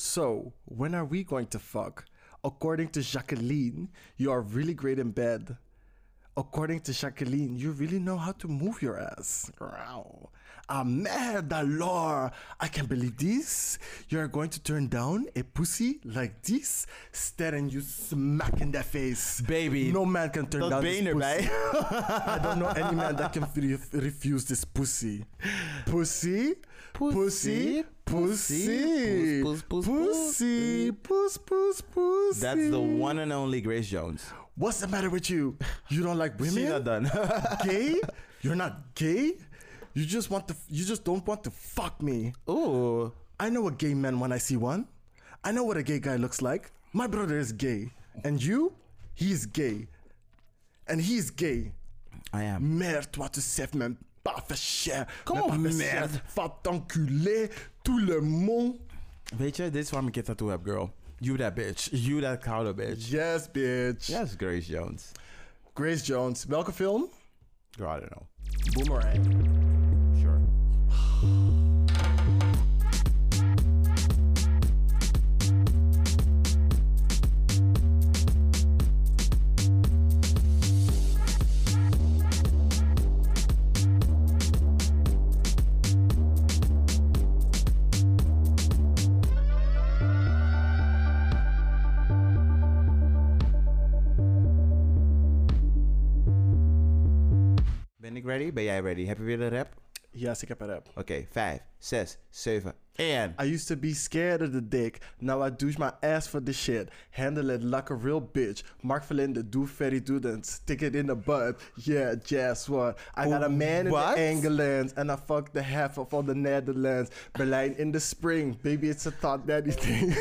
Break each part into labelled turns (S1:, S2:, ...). S1: So, when are we going to fuck? According to Jacqueline, you are really great in bed. According to Jacqueline, you really know how to move your ass. Growl. Ah, merde alors! I can't believe this. You are going to turn down a pussy like this, staring you smack in the face.
S2: Baby,
S1: No man can turn
S2: dat
S1: down this
S2: been
S1: pussy.
S2: erbij.
S1: I don't know any man that can re- refuse this pussy. Pussy, pussy, pussy,
S2: Poes, poes, poes,
S1: pussy, puss, puss, pussy.
S2: That's the one and only Grace Jones.
S1: What's the matter with you? You don't like
S2: She's not
S1: women?
S2: done.
S1: gay? You're not gay? You just want to. You just don't want to fuck me.
S2: Ooh.
S1: I know a gay man when I see one. I know what a gay guy looks like. My brother is gay, and you, he is gay, and he is gay.
S2: I am.
S1: Merde, toi, tu sais même pas faire chier.
S2: Comment
S1: Même pas faire
S2: merde?
S1: chier. Va t'enculer, tout le monde.
S2: Weet je, dit is waarom ik het tattoo heb, girl. You that bitch. You that koude bitch.
S1: Yes, bitch.
S2: Yes, Grace Jones.
S1: Grace Jones. Welke film?
S2: Girl, I don't know.
S1: Boomerang.
S2: Sure. Ben ik ready? Ben jij ready? Heb je weer een rap?
S1: Yes, ik heb het op.
S2: Oké, 5, 6, 7 en.
S1: I used to be scared of the dick. Now I douche my ass for the shit. Handle it like a real bitch. Mark Verlinde, do Ferry Dudens. Stick it in the butt. Yeah, jazz what? I got a man in
S2: What?
S1: the England. And I fucked the half of all the Netherlands. Berlijn in the spring. Baby, it's a thought daddy thing.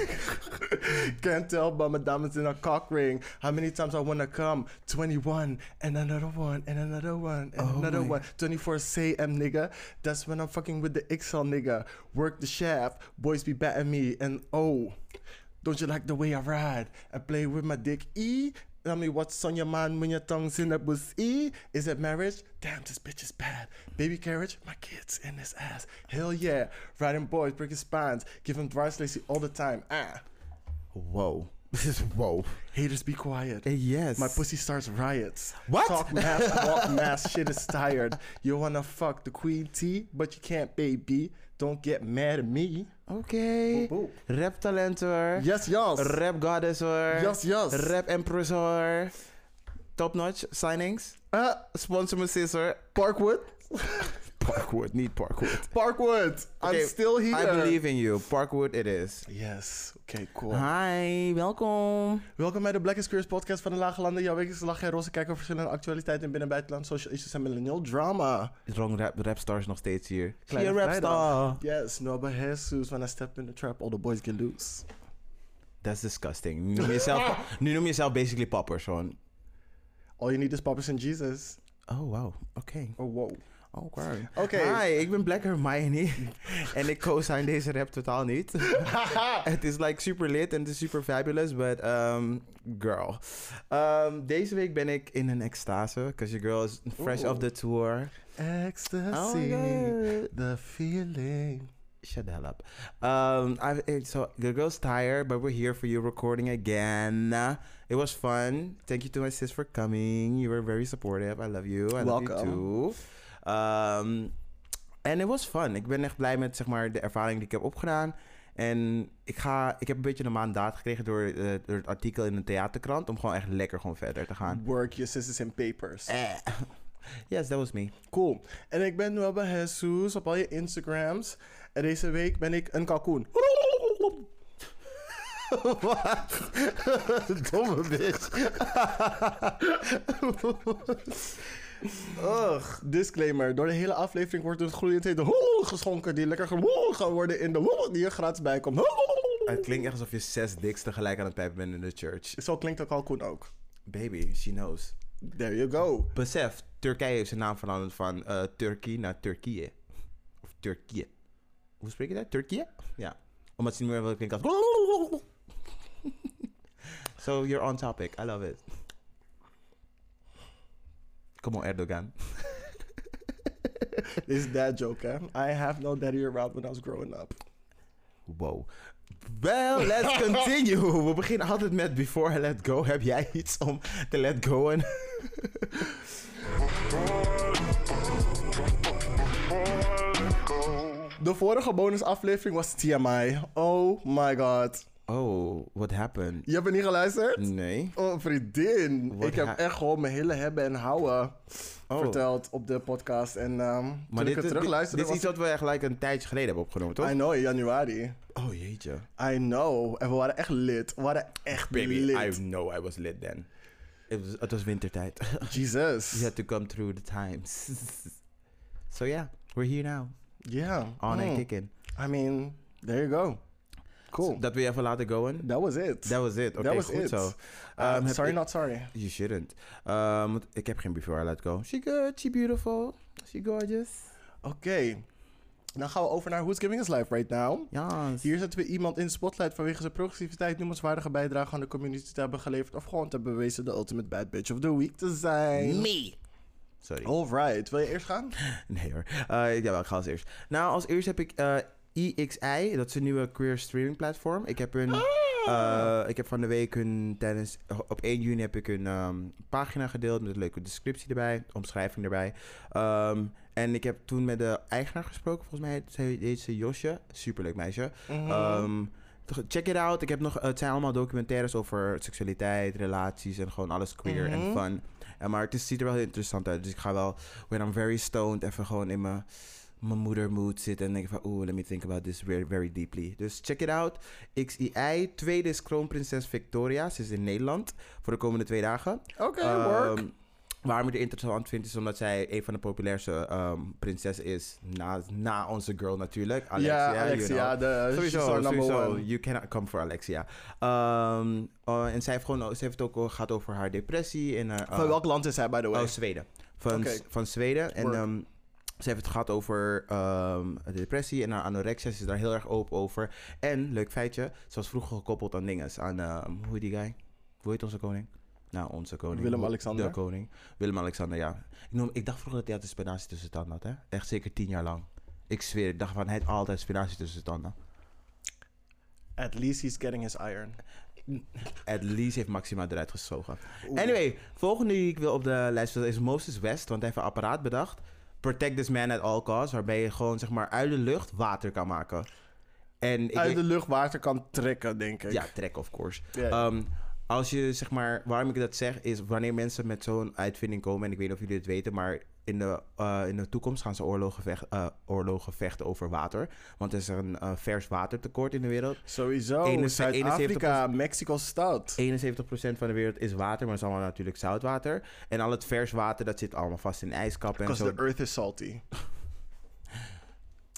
S1: Can't tell, but my diamonds in a cock ring. How many times I wanna come? 21 and another one and another one and another one. 24 cm nigga. That's when I'm fucking with the XL nigga. Work the shaft, boys be batting me, and oh, don't you like the way I ride? I play with my dick E. Tell me what's on your mind when your tongue's in that pussy. Is it marriage? Damn, this bitch is bad. Baby carriage, my kids in his ass. Hell yeah. Riding boys, breaking spines. Give him dry lacy all the time. Ah.
S2: Wow. This is wow.
S1: Haters be quiet.
S2: yes.
S1: My pussy starts riots.
S2: What?
S1: Talk mass, walk mass, shit is tired. You wanna fuck the queen T, but you can't, baby. Don't get mad at me.
S2: Oké.
S1: Boep, boep.
S2: Rap talent hoor.
S1: Yes, yes.
S2: Rap goddess hoor.
S1: Yes, yes.
S2: Rap empress hoor. Top notch signings.
S1: Uh,
S2: Sponsor me sis hoor.
S1: Parkwood?
S2: Parkwood, niet Parkwood.
S1: Parkwood.
S2: Okay,
S1: I'm still here.
S2: I believe Uh-huh. in you. Parkwood it is.
S1: Yes. Okay, cool.
S2: Hi, welkom.
S1: Welkom bij de Black is Queers podcast van de Lage Landen. Jouw wekelijkse lach en roze kijk over verschillende actualiteiten in binnen- en buitenland, social issues en millennial drama.
S2: Wrong rap, rapstar is nog steeds hier.
S1: Kleine
S2: Hier,
S1: vrijdag.
S2: rapstar.
S1: Yes, Noba Jesus. When I step in the trap, all the boys get loose.
S2: That's disgusting. Nu noem, jezelf, nu noem jezelf basically poppers gewoon.
S1: All you need is Papas and Jesus.
S2: Oh wow, oké.
S1: Oh, wow.
S2: Oké.
S1: Oké.
S2: Hi, ik ben Black Hermione. en ik co-sign deze rap totaal niet. het is like super lit en het is super fabulous, but um, girl. Um, deze week ben ik in een extase, because your girl is fresh
S1: Oeh.
S2: off the tour. Oh my
S1: Ecstasy.
S2: god.
S1: the feeling.
S2: Shut the hell up. Um, I've, eh, so the girl's tired, but we're here for you recording again. It was fun. Thank you to my sis for coming. You were very supportive. I love you. I love
S1: Welcome.
S2: you too. Um, en it was fun. Ik ben echt blij met zeg maar, de ervaring die ik heb opgedaan. En ik, ga, ik heb een beetje een mandaat gekregen door, eh, door het artikel in de theaterkrant. Om gewoon echt lekker gewoon verder te gaan.
S1: Work your sisters in papers.
S2: Eh. Yes, that was me.
S1: Cool. En ik ben Noba Jesus op al je Instagrams. En deze week ben ik een kalkoen.
S2: Wat? Domme bitch.
S1: Ugh. Disclaimer. Door de hele aflevering wordt het gloeiend hete hoel geschonken. Die lekker gewoel gaan worden in de hoel die er gratis bij komt.
S2: Het klinkt echt alsof je zes dicks tegelijk aan het pijpen bent in de church.
S1: Zo klinkt een kalkoen ook.
S2: Baby, she knows.
S1: There you go.
S2: Besef, Turkije heeft zijn naam veranderd van eh Turkije naar Turkije. Of Turkije. Hoe spreek je dat? Turkije? Ja. Omdat ze niet meer wil klinken als... so you're on topic. I love it. Come on, Erdogan.
S1: This is that joke, hè? I have no daddy around when I was growing up.
S2: Wow. Wel, let's continue. We beginnen altijd met Before I Let Go. Heb jij iets om te let goen?
S1: De vorige bonusaflevering was TMI. Oh my god.
S2: Oh, what happened?
S1: Je hebt niet geluisterd?
S2: Nee.
S1: Oh, vriendin.
S2: Wat
S1: ik heb
S2: ha-
S1: echt gewoon mijn hele hebben en houden
S2: Oh.
S1: verteld op de podcast. En ehm toen
S2: Maar
S1: ik
S2: dit,
S1: het
S2: is- dit,
S1: terugluisterde
S2: dit is
S1: was...
S2: iets wat we gelijk een tijdje geleden hebben opgenomen, toch?
S1: I know, in januari.
S2: Oh, jeetje.
S1: I know. En we waren echt lid. We waren echt
S2: Baby,
S1: lid.
S2: I know I was lit then. Het was, het was wintertijd.
S1: Jesus.
S2: You had to come through the times. so yeah, we're here now.
S1: Yeah.
S2: On
S1: Mm.
S2: and kicking.
S1: I mean, there you go. Cool.
S2: Dat we je even laten goen.
S1: Oh. That was it.
S2: That was it. Oké,
S1: That was
S2: goed
S1: it.
S2: zo.
S1: Uh,
S2: Ehm, heb
S1: sorry,
S2: ik-
S1: not sorry.
S2: You shouldn't. Ehm, want ik heb geen before I let go. She good, she beautiful, she gorgeous.
S1: Oké. Dan gaan we over naar Who's Giving Us Life right now.
S2: Yes.
S1: Hier zetten we iemand in de spotlight vanwege zijn progressiviteit, noemenswaardige bijdrage aan de community te hebben geleverd of gewoon te hebben bewezen de ultimate bad bitch of the week te zijn.
S2: Me. Hmm? Sorry.
S1: Alright, wil je eerst gaan?
S2: Nee hoor. Eh jawel, ik ga als eerst. Nou, als eerst heb ik eh EXI. Dat is een nieuwe queer streaming platform. Ik heb een... Eh, ik heb van de week een tijdens op 1 juni heb ik een ehm, pagina gedeeld met een leuke descriptie erbij, omschrijving erbij. Ehm, en ik heb toen met de eigenaar gesproken, volgens mij heet ze- heet ze Josje, superleuk meisje.
S1: Mhm.
S2: Ehm, toch- check it out. Ik heb nog, eh, het zijn allemaal documentaires over seksualiteit, relaties en gewoon alles queer en
S1: Mhm.
S2: fun. En maar het is, ziet er wel heel interessant uit. Dus ik ga wel, when I'm very stoned, even gewoon in mijn mijn moeder mood zitten en denken van oeh, let me think about this very, very deeply. Dus check it out. XII. Tweede is kroonprinses Victoria. Ze is in Nederland voor de komende twee dagen.
S1: Oké, work.
S2: Ehm, waarom ik het interessant vind is omdat zij een van de populairste ehm, prinsessen is na, na onze girl natuurlijk. Alexia,
S1: ja,
S2: you
S1: Alexia,
S2: know.
S1: de she's
S2: Sowieso,
S1: our number
S2: sowieso.
S1: one.
S2: You cannot come for Alexia. Ehm, eh, en zij heeft, gewoon, zij heeft het ook eh, gehad over haar depressie. En haar,
S1: Van
S2: eh,
S1: welk land is hij, by the way?
S2: Oh, Zweden. Van,
S1: Oké.
S2: van Zweden. En
S1: Word.
S2: ehm, ze heeft het gehad over ehm, de depressie en haar anorexia. Ze is daar heel erg open over. En, leuk feitje, ze was vroeger gekoppeld aan dinges. Aan, ehm, hoe heet die guy? Hoe heet onze koning? Nou, onze koning.
S1: Willem-Alexander.
S2: De koning. Willem-Alexander, ja. Ik, noem, ik dacht vroeger dat hij altijd spinazie tussen tanden had, hè? Echt zeker tien jaar lang. Ik zweer, ik dacht van, hij had altijd spinazie tussen tanden.
S1: At least he's getting his iron.
S2: At least heeft Maxima eruit gezogen.
S1: Oeh.
S2: Anyway, volgende die ik wil op de lijst zetten is Moses West, want hij heeft een apparaat bedacht. Protect this man at all costs, waarbij je gewoon zeg maar uit de lucht water kan maken. En ik
S1: Uit de lucht water kan trekken, denk ik.
S2: ja, trek of course.
S1: Ja, ja.
S2: Ehm, als je zeg maar, waarom ik dat zeg, is wanneer mensen met zo'n uitvinding komen, en ik weet niet of jullie het weten, maar in de, eh, in de toekomst gaan ze oorlogen, vecht- eh, oorlogen vechten over water. Want er is een eh, vers watertekort in de wereld.
S1: Sowieso.
S2: 71
S1: Zuid-Afrika, Mexico stad.
S2: 71% van de wereld is water, maar het is allemaal natuurlijk zoutwater. En al het vers water, dat zit allemaal vast in ijskappen en
S1: Because
S2: zo.
S1: the earth is salty.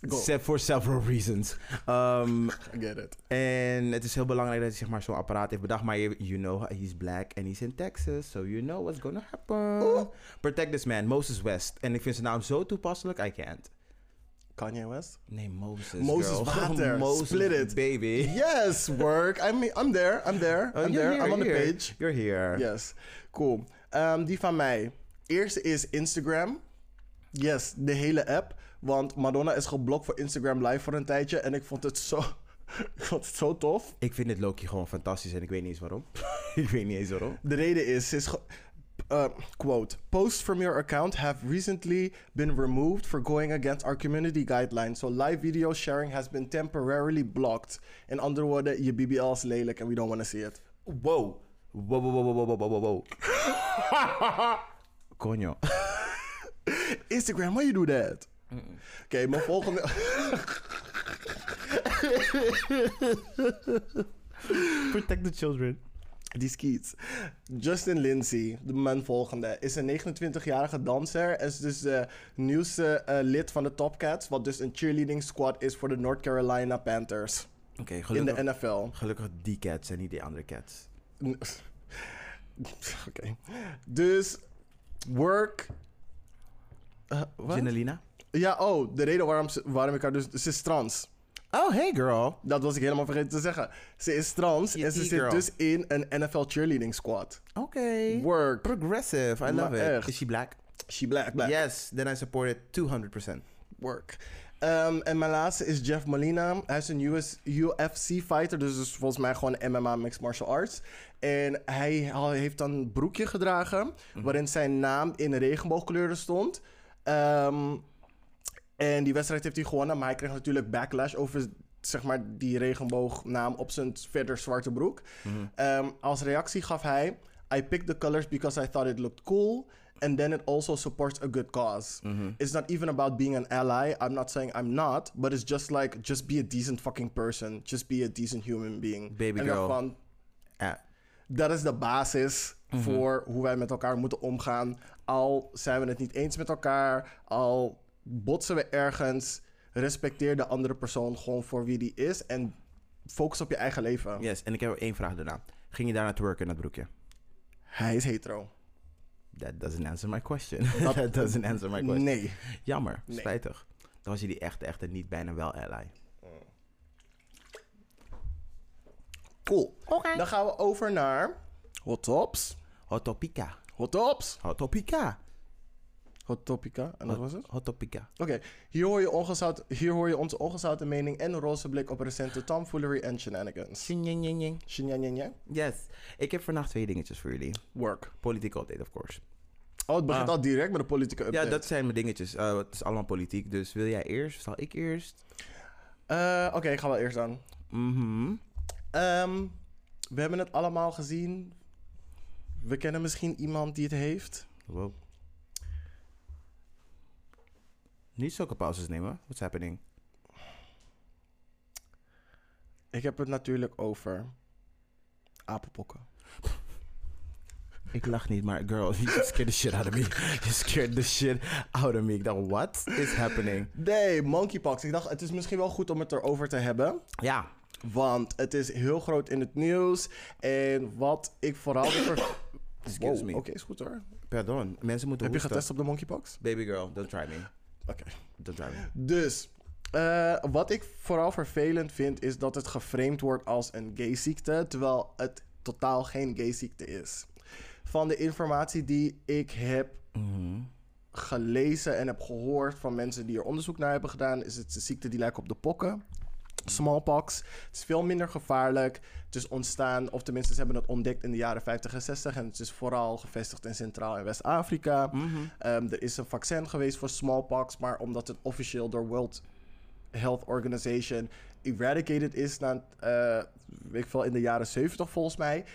S1: Go.
S2: Se- For several reasons. Ehm,
S1: I get it.
S2: en het is heel belangrijk dat hij zeg maar, zo'n apparaat heeft bedacht. Maar je, you know, he's black and he's in Texas. So you know what's gonna happen.
S1: Oeh.
S2: Protect this man, Moses West. En ik vind zijn naam zo toepasselijk, I can't.
S1: Kanye West?
S2: Nee, Moses,
S1: Moses
S2: girl.
S1: water.
S2: Moses,
S1: Split it.
S2: baby.
S1: Yes, work. I mean, I'm there. I'm there.
S2: Oh,
S1: I'm
S2: you're
S1: there.
S2: here,
S1: I'm on the
S2: you're here.
S1: page.
S2: You're here.
S1: Yes. Cool. Ehm, die van mij. Eerst is Instagram. Yes, de hele app. Want Madonna is geblokt voor Instagram Live voor een tijdje. En ik vond het zo, ik vond het zo tof.
S2: Ik vind dit Loki gewoon fantastisch en ik weet niet eens waarom. ik weet niet eens waarom.
S1: De reden is, ze is ge- uh, quote, posts from your account have recently been removed for going against our community guidelines. So live video sharing has been temporarily blocked. In andere woorden, je BBL is lelijk and we don't want to see it.
S2: Wow. Wow, wow, wow, wow, wow, wow, wow, wow. Konjo.
S1: Instagram, why you do that? Oké, mijn volgende...
S2: Protect the children.
S1: Die skiet. Justin Lindsay, de man volgende, is een 29-jarige danser. En is dus de nieuwste eh, lid van de Top Cats. Wat dus een cheerleading squad is voor de North Carolina Panthers.
S2: Oké,
S1: In
S2: gelukkig,
S1: de NFL.
S2: gelukkig die cats en niet die andere cats.
S1: N- Oké. Dus work. Eh, wat?
S2: Zinalina?
S1: Ja, oh, de reden waarom, ze- waarom ik haar dus. Ze is trans.
S2: Oh, hey girl.
S1: Dat was ik helemaal vergeten te zeggen. Ze is trans
S2: Je
S1: en ze zit
S2: e-girl.
S1: dus in een NFL cheerleading squad.
S2: Oké.
S1: Work.
S2: Progressive, I
S1: Maar
S2: love it. Eh.
S1: echt.
S2: Is she black?
S1: She black, black.
S2: Yes, then I support it 200%.
S1: Work. Ehm, en mijn laatste is Jeff Molina. Hij is een US, UFC fighter, dus, dus volgens mij gewoon MMA mixed martial arts. En hij ha- heeft dan een broekje gedragen, waarin zijn naam in regenboogkleuren stond. Ehm, en die wedstrijd heeft hij gewonnen, maar hij kreeg natuurlijk backlash over zeg maar, die regenboognaam op zijn verder zwarte broek.
S2: Mhm.
S1: Ehm, als reactie gaf hij: I picked the colors because I thought it looked cool. And then it also supports a good cause.
S2: Mhm.
S1: It's not even about being an ally. I'm not saying I'm not. But it's just like, just be a decent fucking person. Just be a decent human being.
S2: Baby
S1: en dan
S2: girl.
S1: van,
S2: Ja.
S1: dat is de basis voor hoe wij met elkaar moeten omgaan. Al zijn we het niet eens met elkaar, al botsen we ergens, respecteer de andere persoon gewoon voor wie die is en focus op je eigen leven.
S2: Yes, en ik heb één vraag daarna. Ging je daar naar het werken in dat broekje?
S1: Hij is hetero.
S2: That doesn't answer my question. That, doesn't answer my question.
S1: Nee.
S2: Jammer,
S1: Nee.
S2: spijtig. Dan was jullie echt, echt een niet bijna wel ally.
S1: Cool. Dan gaan we over naar hot tops.
S2: Hot topica.
S1: Hot tops.
S2: Hot topica.
S1: Hot topica. En dat was het?
S2: Hot topica.
S1: Oké, hier hoor je ongezout- hier hoor je onze ongezouten mening en roze blik op recente tomfoolery en shenanigans.
S2: Tjing, jing, jing, jing.
S1: Shenanigans.
S2: Yes. Ik heb vandaag twee dingetjes voor jullie.
S1: Work.
S2: Politieke update, of course.
S1: Oh, het begint
S2: Ah.
S1: al direct met de politieke update.
S2: Ja, dat zijn mijn dingetjes. Eh, het is allemaal politiek, dus wil jij eerst? Zal ik eerst?
S1: Eh, Oké, ik ga wel eerst aan.
S2: Mhm.
S1: Ehm, we hebben het allemaal gezien. We kennen misschien iemand die het heeft.
S2: Wow. Niet zulke pauzes nemen. What's happening?
S1: Ik heb het natuurlijk over apenpokken.
S2: Ik lach niet, maar girl, you just scared the shit out of me. You scared the shit out of me. Ik dacht, what is happening?
S1: Nee, monkeypox. Ik dacht, het is misschien wel goed om het erover te hebben.
S2: Ja,
S1: Want het is heel groot in het nieuws. En wat ik vooral...
S2: excuse
S1: Wow,
S2: me.
S1: Oké, is goed hoor.
S2: Pardon, mensen moeten
S1: Heb je
S2: hoesten.
S1: getest op de monkeypox?
S2: Baby girl, don't try me.
S1: Oké.
S2: Don't try me.
S1: Dus, eh, wat ik vooral vervelend vind, is dat het geframed wordt als een gayziekte, terwijl het totaal geen gayziekte is. Van de informatie die ik heb gelezen en heb gehoord van mensen die er onderzoek naar hebben gedaan, is het een ziekte die lijkt op de pokken. Smallpox. Het is veel minder gevaarlijk. Het is ontstaan, of tenminste, ze hebben het ontdekt in de jaren 50 en 60. En het is vooral gevestigd in Centraal- en West-Afrika. Ehm, er is een vaccin geweest voor smallpox, maar omdat het officieel door World Health Organization eradicated is, na, eh, weet ik veel, in de jaren 70 volgens mij,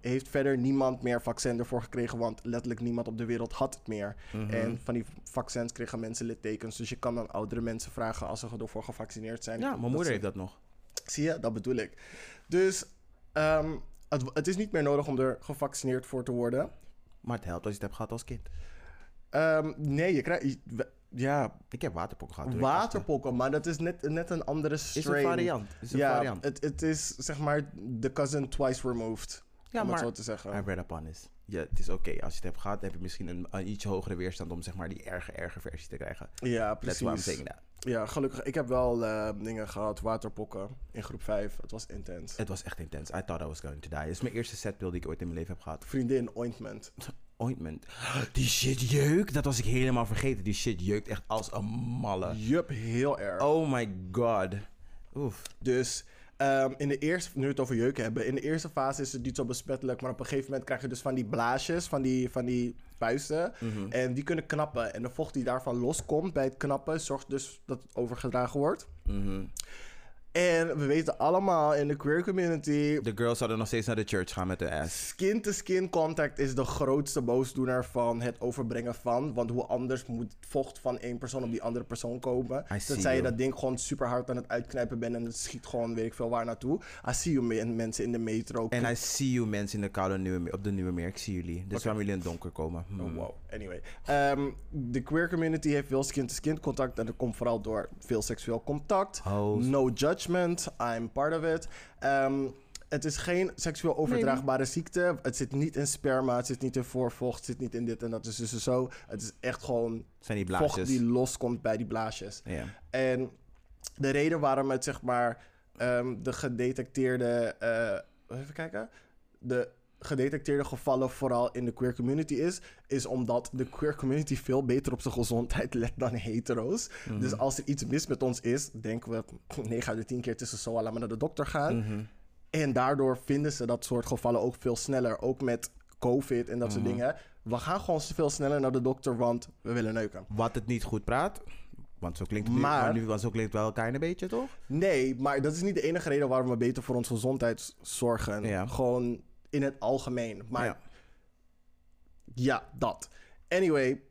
S1: heeft verder niemand meer vaccin ervoor gekregen, want letterlijk niemand op de wereld had het meer. En van die vaccins kregen mensen littekens, dus je kan dan oudere mensen vragen als ze ervoor gevaccineerd zijn.
S2: Ja,
S1: dat
S2: mijn moeder
S1: ze-
S2: heeft dat nog.
S1: Zie je, dat bedoel ik. Dus ehm, het, het is niet meer nodig om er gevaccineerd voor te worden.
S2: Maar het helpt als je het hebt gehad als kind.
S1: Ehm, nee, je krijgt. je- Ja,
S2: Ik heb waterpok gehad. toen ik achtste.
S1: waterpokken, maar dat is net, net een andere
S2: Is
S1: strain.
S2: een variant. Is een
S1: ja,
S2: variant.
S1: Het, het is zeg maar de cousin twice removed.
S2: Ja,
S1: om
S2: maar
S1: het zo te zeggen.
S2: I read upon this. Ja, het is oké. Als je het hebt gehad, heb je misschien een, een iets hogere weerstand om zeg maar die erge, erge versie te krijgen.
S1: ja,
S2: That's why I'm
S1: precies.
S2: saying that.
S1: Ja, gelukkig. Ik heb wel eh, dingen gehad, waterpokken in groep 5. Het was intens.
S2: Het was echt intens. I thought I was going to die. Het is mijn eerste setpil die ik ooit in mijn leven heb gehad.
S1: Vriendin, ointment.
S2: Ointment. Die shit jeukt. Dat was ik helemaal vergeten. Die shit jeukt echt als een malle.
S1: Jup, heel erg.
S2: Oh my god. Oef.
S1: Dus ehm, in de eerste, nu we het over jeuken hebben, in de eerste fase is het niet zo besmettelijk, maar op een gegeven moment krijg je dus van die blaasjes, van die, van die puisten. En die kunnen knappen. En de vocht die daarvan loskomt bij het knappen, zorgt dus dat het overgedragen wordt. En we weten allemaal in de queer community,
S2: De girls zouden nog steeds naar de church gaan met de ass.
S1: skin-to-skin contact is de grootste boosdoener van het overbrengen van. Want hoe anders moet vocht van één persoon op die andere persoon komen.
S2: I see
S1: Tenzij je
S2: you.
S1: dat ding gewoon super hard aan het uitknijpen bent en het schiet gewoon weet ik veel waar naartoe. I see you men- mensen in de metro.
S2: En I see you mensen in de koude Nieuwe Meer- op de Nieuwe Meer. Ik zie jullie. Dit is waarom jullie in het donker komen. Hmm.
S1: Oh, wow. Anyway. Ehm, de queer community heeft veel skin-to-skin contact. En dat komt vooral door veel seksueel contact.
S2: Hoes.
S1: No judgment. I'm part of it. Ehm, het is geen seksueel overdraagbare ziekte. Het zit niet in sperma. Het zit niet in voorvocht. Het zit niet in dit en dat. Dus, dus en zo. Het is echt gewoon
S2: Zijn die
S1: vocht
S2: blaasjes.
S1: die loskomt bij die blaasjes.
S2: Ja.
S1: En de reden waarom het zeg maar ehm, de gedetecteerde. eh, even kijken. De gedetecteerde gevallen vooral in de queer community is, is omdat de queer community veel beter op zijn gezondheid let dan hetero's. Dus als er iets mis met ons is, denken we 9 uit de 10 keer tussen zo, laat maar naar de dokter gaan. En daardoor vinden ze dat soort gevallen ook veel sneller, ook met COVID en dat soort dingen. We gaan gewoon veel sneller naar de dokter, want we willen neuken.
S2: Wat het niet goed praat. Want zo klinkt het nu,
S1: Maar-
S2: maar nu, want zo klinkt het wel elkaar een beetje, toch?
S1: Nee, maar dat is niet de enige reden waarom we beter voor onze gezondheid zorgen.
S2: Ja.
S1: Gewoon in het algemeen. Maar
S2: Ja.
S1: Ja, dat. Anyway,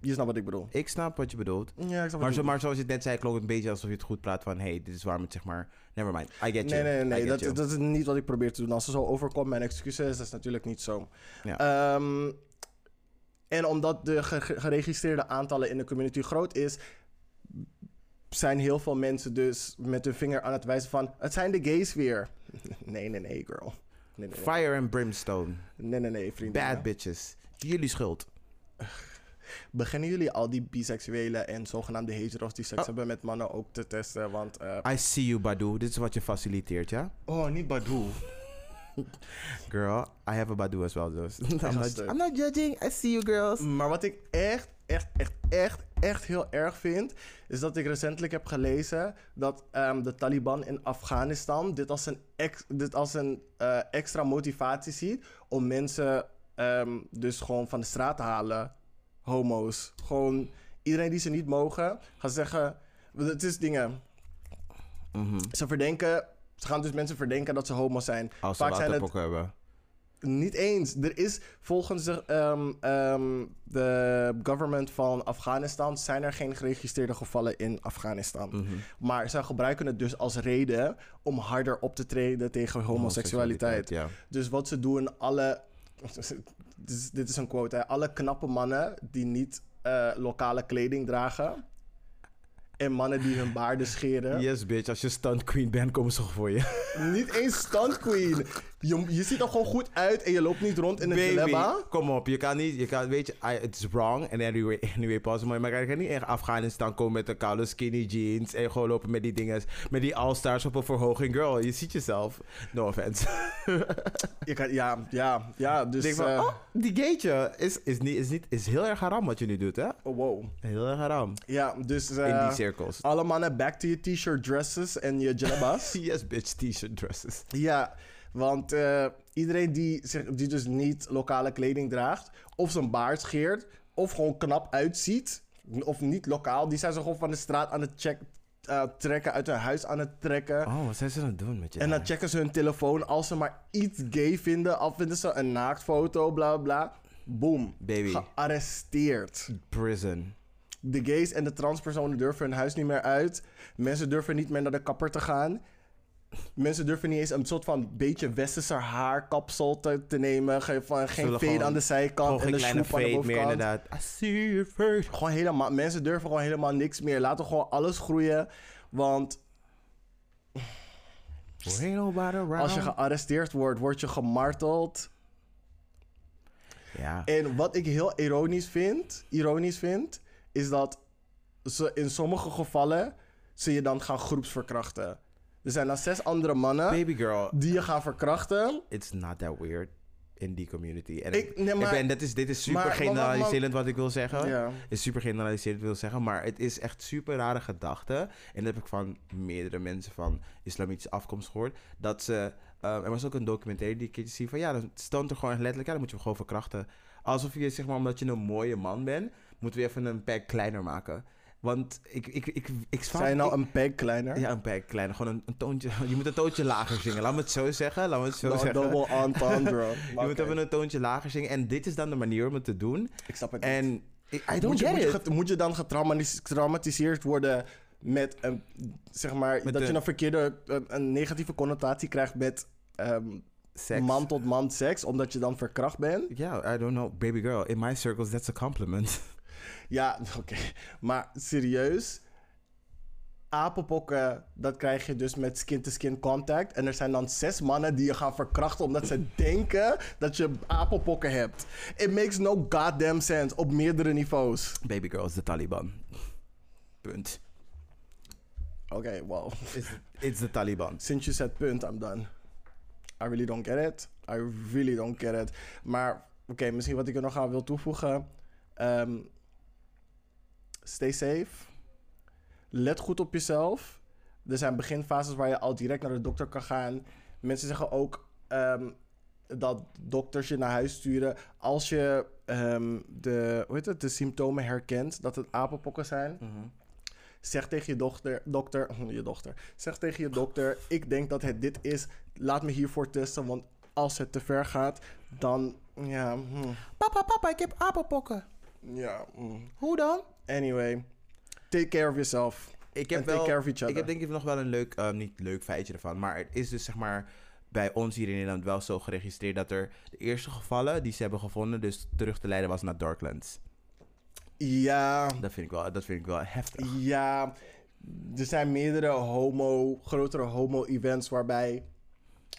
S1: je snapt wat ik bedoel.
S2: Ik snap wat je bedoelt.
S1: Ja, ik snap
S2: Maar,
S1: wat je
S2: zo, maar zoals je het net zei, klonk het een beetje alsof je het goed praat van... hey, dit is waarom het zeg maar... Never mind, I get
S1: Nee,
S2: you.
S1: nee,
S2: I
S1: nee.
S2: get
S1: Dat,
S2: you.
S1: dat is niet wat ik probeer te doen. Als ze zo overkomt, mijn excuses, dat is natuurlijk niet zo.
S2: Ja.
S1: Ehm, en omdat de ge- ge- geregistreerde aantallen in de community groot is, zijn heel veel mensen dus met hun vinger aan het wijzen van: het zijn de gays weer. Nee, nee, nee, girl. Nee, nee, nee.
S2: Fire and brimstone.
S1: Nee, nee, nee, vriendin.
S2: Bad bitches. Jullie schuld.
S1: Beginnen jullie al die biseksuelen en zogenaamde heteros die seks
S2: Oh.
S1: hebben met mannen ook te testen? Want, eh,
S2: I see you, Badu. Dit is wat je faciliteert, ja?
S1: oh, niet Badoe.
S2: Girl, I have a Badu as well, dus. I'm,
S1: ga
S2: not,
S1: stuk.
S2: I'm not judging. I see you, girls.
S1: Maar wat ik echt, echt, echt, echt, echt heel erg vind, is dat ik recentelijk heb gelezen dat ehm, de Taliban in Afghanistan dit als een, ex- dit als een eh, extra motivatie ziet om mensen ehm, dus gewoon van de straat te halen. Homo's. Gewoon iedereen die ze niet mogen, gaan zeggen. want Het is dingen.
S2: Mhm.
S1: Ze verdenken. Ze gaan dus mensen verdenken dat ze homo zijn.
S2: Als ze
S1: Vaak zijn het-
S2: waterpokken hebben.
S1: Niet eens. Er is volgens de, ehm, ehm, de government van Afghanistan zijn er geen geregistreerde gevallen in Afghanistan.
S2: Mhm.
S1: Maar zij gebruiken het dus als reden om harder op te treden tegen homoseksualiteit.
S2: Ja.
S1: Dus wat ze doen, alle. Dit is- Dit is een quote, hè. Alle knappe mannen die niet eh, lokale kleding dragen. En mannen die hun baarden scheren.
S2: Yes, bitch. Als je stunt queen bent, komen ze voor je.
S1: Niet eens stunt queen. Je, je ziet er gewoon goed uit en je loopt niet rond in een dilemma.
S2: kom op. Je kan niet, je kan, weet je, I- it's wrong. En anyway, anyway possible. Maar je kan niet in Afghanistan komen met een koude skinny jeans. En gewoon lopen met die dingen. Met die all-stars op een verhoging. Girl, je ziet jezelf. No offense.
S1: Je kan, ja, ja, ja. Dus.
S2: Denk van,
S1: eh,
S2: oh, die gate is, is, niet, is, niet, is heel erg haram wat je nu doet, hè?
S1: oh, wow.
S2: Heel erg haram.
S1: Ja, dus. eh,
S2: in die cirkels.
S1: alle mannen back to je t-shirt dresses en je jalabas.
S2: Yes, bitch, t-shirt dresses.
S1: ja, want eh, iedereen die, zich, die dus niet lokale kleding draagt, of zijn baard scheert, of gewoon knap uitziet, of niet lokaal, die zijn ze gewoon van de straat aan het check, eh, trekken, uit hun huis aan het trekken.
S2: Oh, wat zijn ze aan het doen met je
S1: En dan
S2: haar?
S1: checken ze hun telefoon. Als ze maar iets gay vinden, al vinden ze een naaktfoto, bla bla bla. Boom.
S2: Baby.
S1: Gearresteerd.
S2: Prison.
S1: De gays en de transpersonen durven hun huis niet meer uit. Mensen durven niet meer naar de kapper te gaan. Mensen durven niet eens een soort van beetje westerse haarkapsel te, te nemen. Ge- van geen
S2: Zullen
S1: fade
S2: gewoon-
S1: aan de zijkant
S2: Gewoon
S1: en
S2: geen
S1: een
S2: kleine
S1: sloep aan de
S2: fade meer,
S1: bovenkant.
S2: inderdaad. I see you first.
S1: Gewoon helemaal, mensen durven gewoon helemaal niks meer. Laten gewoon alles groeien. Want
S2: Ain't nobody around.
S1: als je gearresteerd wordt, word je gemarteld.
S2: ja.
S1: En wat ik heel ironisch vind, ironisch vind, is dat ze in sommige gevallen ze je dan gaan groepsverkrachten. Er zijn dan zes andere mannen
S2: Baby girl,
S1: die je gaan verkrachten.
S2: it's not that weird in die community. En
S1: Ik-
S2: ik,
S1: nee, maar-
S2: ben, dat is, dit is super
S1: maar- maar- maar-
S2: generaliserend wat ik wil zeggen.
S1: Ja.
S2: Is super generaliserend wil zeggen, maar het is echt super rare gedachte. En dat heb ik van meerdere mensen van islamitische afkomst gehoord. Dat ze, eh, er was ook een documentaire die ik een keertje zie van ja, dan stond er gewoon echt letterlijk, ja, dan moet je hem gewoon verkrachten. Alsof je zeg maar, omdat je een mooie man bent, moeten we even een pack kleiner maken. Want ik, ik, ik, ik, ik
S1: Zijn je nou een peg kleiner?
S2: Ja, een paar kleine. Gewoon een, een toontje. Je moet een toontje lager zingen. Laat me het zo zeggen. Laat me het zo
S1: Nou,
S2: zeggen.
S1: double entendre.
S2: Je moet
S1: Oké.
S2: even een toontje lager zingen. En dit is dan de manier om het te doen.
S1: Ik snap het niet.
S2: En I Eh, I don't
S1: moet, je,
S2: get
S1: moet, je
S2: it.
S1: get- moet je dan getraumatis- getraumatiseerd worden met een, zeg maar,
S2: Met
S1: dat
S2: de-
S1: je een verkeerde, een, een negatieve connotatie krijgt met ehm,
S2: Seks.
S1: man tot man seks, omdat je dan verkracht bent?
S2: Ja, I don't know. Baby girl, in my circles, that's a compliment.
S1: Ja, oké. Maar serieus. Apenpokken, dat krijg je dus met skin-to-skin contact. En er zijn dan zes mannen die je gaan verkrachten omdat ze denken dat je apenpokken hebt. It makes no goddamn sense op meerdere niveaus.
S2: Baby girl is de Taliban. Punt.
S1: Oké, well.
S2: It's the Taliban.
S1: Sinds je zet punt, I'm done. I really don't get it. I really don't get it. Maar oké, misschien wat ik er nog aan wil toevoegen. Ehm, stay safe. Let goed op jezelf. Er zijn beginfases waar je al direct naar de dokter kan gaan. Mensen zeggen ook ehm, dat dokters je naar huis sturen als je ehm, de, hoe heet het, de symptomen herkent dat het apenpokken zijn. Zeg tegen je dochter, dokter, je dochter. Zeg tegen je dokter, ik denk dat het dit is. Laat me hiervoor testen, want als het te ver gaat, dan, ja, hm,
S2: Papa, papa, ik heb apenpokken.
S1: ja. hm.
S2: Hoe dan?
S1: Anyway, take care of yourself.
S2: Ik
S1: And
S2: heb
S1: take
S2: wel...
S1: care of each
S2: Ik heb
S1: other.
S2: denk ik nog wel een leuk, eh, niet leuk feitje ervan, maar het is dus zeg maar bij ons hier in Nederland wel zo geregistreerd dat er de eerste gevallen die ze hebben gevonden, dus terug te leiden was naar Darklands.
S1: Ja,
S2: Dat vind ik wel, dat vind ik wel heftig.
S1: ja. Er zijn meerdere homo, grotere homo-events waarbij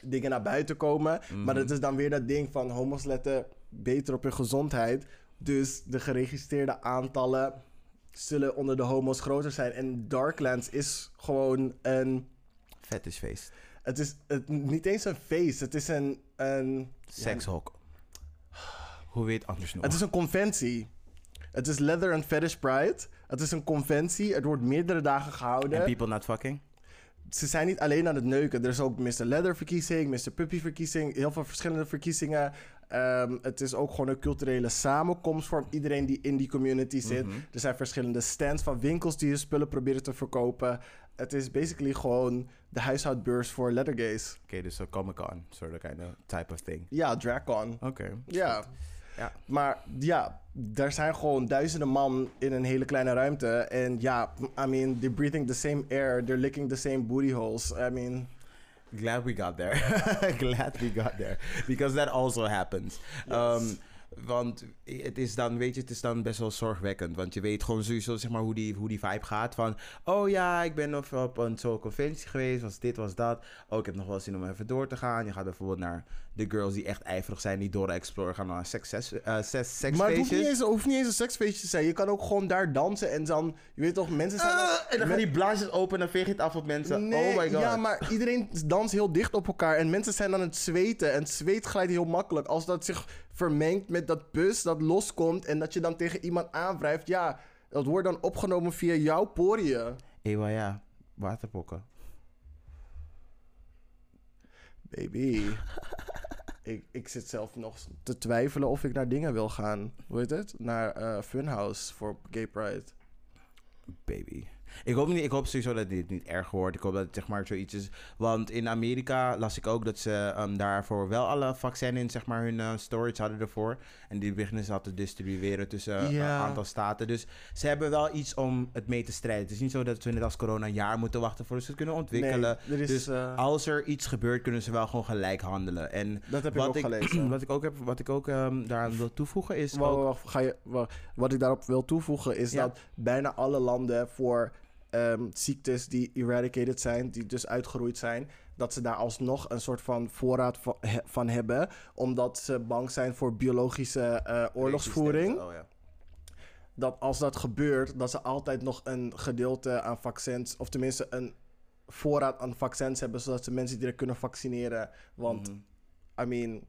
S1: dingen naar buiten komen. Maar het is dan weer dat ding van homo's letten beter op hun gezondheid. Dus de geregistreerde aantallen zullen onder de homo's groter zijn. En Darklands is gewoon een...
S2: Vet is feest.
S1: Het is het, niet eens een feest. Het is een, een...
S2: Sekshok. Hoe weet anders nog?
S1: Het is een conventie. Het is Leather and Fetish Pride. Het is een conventie. Het wordt meerdere dagen
S2: En
S1: gehouden.
S2: people not fucking?
S1: Ze zijn niet alleen aan het neuken. Er is ook Mr. Leather verkiezing, Mr. Puppy verkiezing. Heel veel verschillende verkiezingen. Ehm, het is ook gewoon een culturele samenkomst voor iedereen die in die community zit. Er zijn verschillende stands van winkels die hun spullen proberen te verkopen. Het is basically gewoon de huishoudbeurs voor lettergays.
S2: Oké, dus een Comic Con, sort of kind of type of thing.
S1: Ja, Dracon.
S2: Oké.
S1: Ja.
S2: Ja.
S1: Maar ja, daar zijn gewoon duizenden man in een hele kleine ruimte. En ja, I mean, they're breathing the same air. They're licking the same booty holes. I mean,
S2: Glad we got there. Glad we got there. Because that also happens. Um, want het is dan, weet je, het is dan best wel zorgwekkend. Want je weet gewoon sowieso, zeg maar, hoe die, hoe die vibe gaat. Van, oh ja, ik ben of op een zo'n conventie geweest, was dit, was dat. Oh, ik heb nog wel zin om even door te gaan. Je gaat bijvoorbeeld naar de girls die echt ijverig zijn, die door de Explorer gaan naar seks, zes, eh, zes,
S1: maar het hoeft niet,
S2: seksfeestjes.
S1: eens, het hoeft niet eens een seksfeestje te zijn. Je kan ook gewoon daar dansen en dan, je weet toch, mensen zijn...
S2: Ah,
S1: dan-
S2: en dan gaan die blaasjes open en veeg je het af op mensen.
S1: Nee,
S2: oh my god.
S1: ja, maar iedereen danst heel dicht op elkaar en mensen zijn aan het zweten. En het zweet glijdt heel makkelijk. Als dat zich vermengt met dat pus dat loskomt en dat je dan tegen iemand aanwrijft, ja, dat wordt dan opgenomen via jouw poriën.
S2: Ewa, ja. Waterpokken.
S1: Baby. ik, ik zit zelf nog te twijfelen of ik naar dingen wil gaan. Hoe heet het? Naar eh, Funhouse voor Gay Pride.
S2: Baby. Ik hoop, niet, ik hoop sowieso dat dit niet erg wordt. Ik hoop dat het zeg maar zoiets is. Want in Amerika las ik ook dat ze ehm, daarvoor wel alle vaccins in zeg maar, hun eh, storage hadden ervoor. En die beginnen ze al te distribueren tussen eh,
S1: Ja.
S2: een aantal staten. Dus ze hebben wel iets om het mee te strijden. Het is niet zo dat we net als corona een jaar moeten wachten voor ze het kunnen ontwikkelen.
S1: Nee, er is,
S2: dus
S1: eh,
S2: Als er iets gebeurt, kunnen ze wel gewoon gelijk handelen. En
S1: dat heb ik ook
S2: wat ik,
S1: gelezen.
S2: wat ik ook, heb, wat ik ook ehm, daaraan wil toevoegen is.
S1: Wa-
S2: ook-
S1: wa- wa- ga je, wa- wat ik daarop wil toevoegen is
S2: Ja.
S1: dat bijna alle landen voor ehm, ziektes die eradicated zijn, die dus uitgeroeid zijn, dat ze daar alsnog een soort van voorraad va- he- van hebben, omdat ze bang zijn voor biologische eh, oorlogsvoering.
S2: Oh, ja.
S1: dat als dat gebeurt, dat ze altijd nog een gedeelte aan vaccins, of tenminste een voorraad aan vaccins hebben, zodat ze mensen direct kunnen vaccineren. Want,
S2: Mhm.
S1: I mean,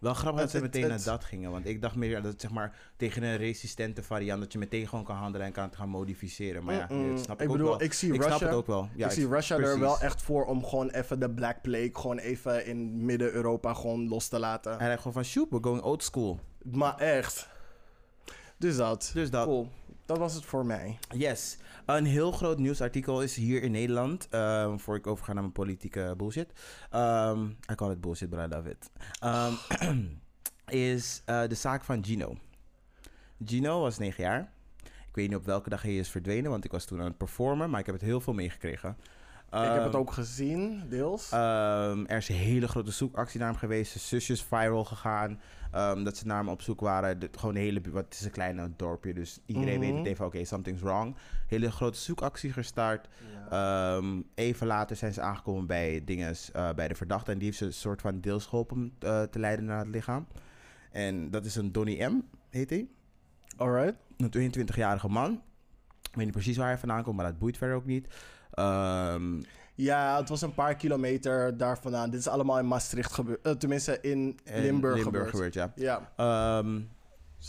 S2: Wel grappig dat
S1: Het- het-
S2: ze meteen
S1: het-
S2: naar dat gingen. Want ik dacht meer dat het zeg maar tegen een resistente variant... dat je meteen gewoon kan handelen en kan het gaan modificeren. Maar ja,
S1: mm,
S2: dat snap ik,
S1: ik
S2: ook
S1: bedoel,
S2: wel.
S1: ik zie
S2: ik snap
S1: Russia-
S2: het ook wel. Ja,
S1: ik zie Russia er
S2: precies.
S1: wel echt voor om gewoon even de Black Plague gewoon even in Midden-Europa gewoon los te laten.
S2: En hij gewoon van, shoot, we're going old school.
S1: Maar echt. Dus dat.
S2: Dus dat.
S1: Cool. Dat was het voor mij.
S2: Yes. Een heel groot nieuwsartikel is hier in Nederland. ehm, voor ik overga naar mijn politieke bullshit. Ehm I call it bullshit, but I love it. Ehm, is eh, de zaak van Gino. Gino was 9 jaar. Ik weet niet op welke dag hij is verdwenen, want ik was toen aan het performen. Maar ik heb het heel veel meegekregen.
S1: ik heb het
S2: Ehm,
S1: ook gezien, deels.
S2: Ehm, er is een hele grote zoekactie naar hem geweest. Zijn zusje is viral gegaan. ehm, dat ze naar hem op zoek waren. De- gewoon de hele... bu- want Het is een klein dorpje, dus iedereen weet het
S1: Mhm.
S2: even. Oké, something's wrong. Hele grote zoekactie gestart. Ehm, even later zijn ze aangekomen bij dinges, eh, bij de verdachte. En die heeft ze een soort van deels geholpen eh, te leiden naar het lichaam. En dat is een Donnie M, heet hij.
S1: Alright.
S2: Een 22-jarige man. Ik weet niet precies waar hij vandaan komt, maar dat boeit verder ook niet. Ehm,
S1: Ja, het was een paar kilometer daar vandaan. Dit is allemaal in Maastricht gebeurd. Eh, tenminste, in
S2: En
S1: Limburg,
S2: Limburg
S1: gebeurd.
S2: gebeurd, ja.
S1: Ja,
S2: Ehm,
S1: het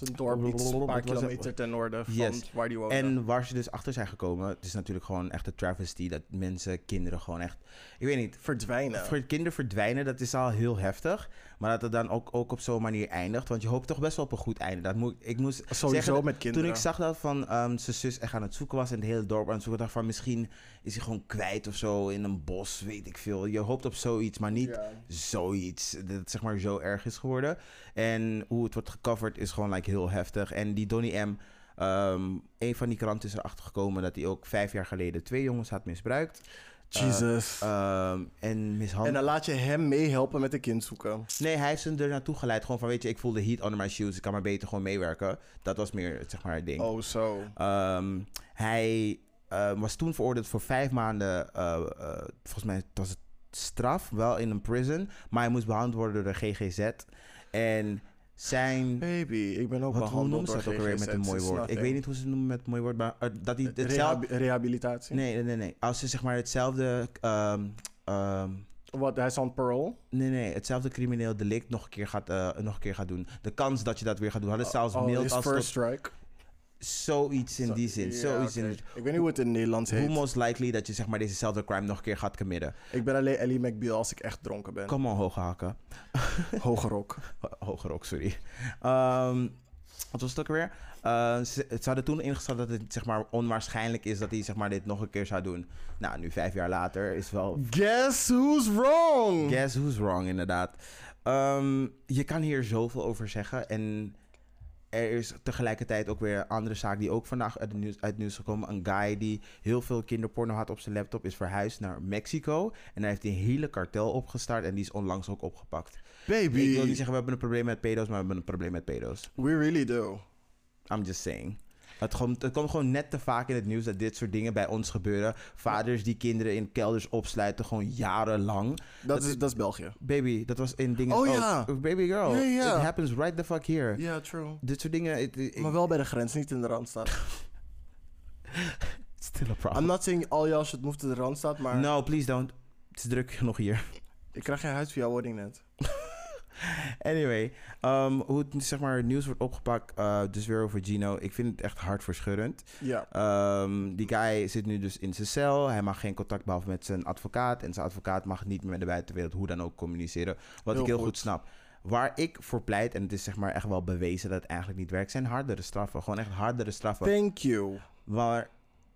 S1: is een dorp iets een paar
S2: Wat was het?
S1: kilometer ten noorden van
S2: Yes.
S1: waar die woonde.
S2: en waar ze dus achter zijn gekomen, het is natuurlijk gewoon echt een travesty dat mensen, kinderen gewoon echt, ik weet niet,
S1: Verdwijnen.
S2: voor kinderen verdwijnen, dat is al heel heftig. Maar dat het dan ook, ook op zo'n manier eindigt, want je hoopt toch best wel op een goed einde. Dat moet, ik moest
S1: Sowieso
S2: zeggen,
S1: met kinderen.
S2: Toen ik zag dat van ehm, zijn zus echt aan het zoeken was en het hele dorp aan het zoeken, dacht van misschien is hij gewoon kwijt of zo in een bos, weet ik veel. Je hoopt op zoiets, maar niet
S1: Ja.
S2: zoiets dat het zeg maar zo erg is geworden. En hoe het wordt gecoverd is gewoon like heel heftig. En die Donny M, ehm, een van die kranten is erachter gekomen dat hij ook vijf jaar geleden twee jongens had misbruikt
S1: Jesus.
S2: ehm, en
S1: en
S2: mishandeld.
S1: dan laat je hem meehelpen met de kind zoeken.
S2: Nee, hij heeft ze er naartoe geleid. Gewoon van, weet je, ik voel de heat onder my shoes. Ik kan maar beter gewoon meewerken. Dat was meer, zeg maar, het ding.
S1: Oh, zo.
S2: Ehm, hij eh, was toen veroordeeld voor vijf maanden. eh, eh, volgens mij was het straf, wel in een prison. Maar hij moest behandeld worden door de GGZ. En zijn.
S1: Baby, ik ben ook
S2: Wat, hoe
S1: behandeld
S2: noemen ze
S1: door
S2: dat ook alweer
S1: GGZ,
S2: met een mooi
S1: it's
S2: woord? Ik
S1: nothing.
S2: weet niet hoe ze het noemen met een mooi woord, maar eh, dat hij hetzelfde.
S1: Rehabi- rehabilitatie.
S2: Nee, nee, nee, nee. Als ze zeg maar hetzelfde. ehm, ehm,
S1: Wat, hij is on parole?
S2: nee, nee, hetzelfde crimineel delict nog een, keer gaat, eh, nog een keer gaat doen. De kans dat je dat weer gaat doen. Hadden ze zelfs
S1: oh,
S2: mild
S1: is
S2: als tot
S1: first strike.
S2: zoiets in
S1: Zo-
S2: die zin.
S1: ja,
S2: zoiets
S1: oké.
S2: in
S1: Ik weet niet hoe het in het Nederlands
S2: Hoe
S1: heet.
S2: most likely dat je zeg maar dezezelfde crime nog een keer gaat committen?
S1: Ik ben alleen Ellie McBeal als ik echt dronken ben.
S2: Kom al hoge hakken.
S1: Hoge rok.
S2: Ho- Hoge rok, sorry. Ehm, wat was het ook weer? Eh ze, ze hadden toen ingesteld dat het zeg maar onwaarschijnlijk is dat hij zeg maar dit nog een keer zou doen. Nou, nu vijf jaar later is wel...
S1: Guess who's wrong?
S2: Guess who's wrong, inderdaad. Ehm, je kan hier zoveel over zeggen en... Er is tegelijkertijd ook weer een andere zaak die ook vandaag uit het nieuws, uit het nieuws is gekomen. Een guy die heel veel kinderporno had op zijn laptop is verhuisd naar Mexico. En daar heeft hij een hele kartel opgestart en die is onlangs ook opgepakt.
S1: Baby,
S2: Ik wil niet zeggen we hebben een probleem met pedo's, maar we hebben een probleem met pedo's.
S1: we really do.
S2: I'm just saying. Het, komt- het komt gewoon net te vaak in het nieuws dat dit soort dingen bij ons gebeuren. Vaders die kinderen in kelders opsluiten, gewoon jarenlang.
S1: Dat is, dat is België.
S2: Baby, dat was in dingen.
S1: Oh ja.
S2: Baby girl,
S1: Ja, ja.
S2: it happens right the fuck here.
S1: Ja, true.
S2: Dit soort dingen, it, it,
S1: Maar wel bij de grens, niet in de Randstad.
S2: it's still a problem.
S1: I'm not saying all y'all should move to de Randstad, maar
S2: No, please don't. Het is druk genoeg hier.
S1: ik krijg geen huis via woning net.
S2: Anyway, ehm, hoe het, zeg maar, het nieuws wordt opgepakt, eh, dus weer over Gino. Ik vind het echt hartverscheurend.
S1: Ja.
S2: Ehm, die guy zit nu dus in zijn cel. Hij mag geen contact behalven met zijn advocaat. En zijn advocaat mag niet meer met de buitenwereld hoe dan ook communiceren. Wat
S1: Heel
S2: ik heel
S1: goed.
S2: goed. snap. Waar ik voor pleit, en het is zeg maar echt wel bewezen dat het eigenlijk niet werkt, zijn hardere straffen. Gewoon echt hardere straffen.
S1: Thank you.
S2: Waar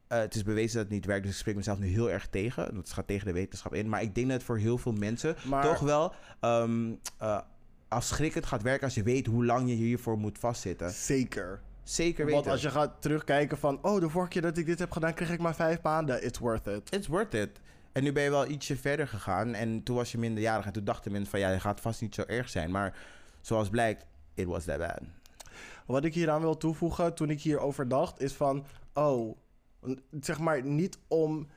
S2: eh, het is bewezen dat het niet werkt. Dus ik spreek mezelf nu heel erg tegen. Dat gaat tegen de wetenschap in. Maar ik denk dat het voor heel veel mensen
S1: Maar
S2: toch wel ehm eh, afschrikkend gaat werken als je weet hoe lang je hiervoor moet vastzitten.
S1: zeker.
S2: Zeker weten.
S1: Want als je gaat terugkijken van, oh, de vorige keer dat ik dit heb gedaan, kreeg ik maar vijf maanden. It's worth it.
S2: It's worth it. En nu ben je wel ietsje verder gegaan. En toen was je minderjarig. En toen dachten mensen van... Ja, het gaat vast niet zo erg zijn. Maar zoals blijkt... It was that bad.
S1: Wat ik hieraan wil toevoegen toen ik hierover dacht, is van, oh, n- zeg maar niet om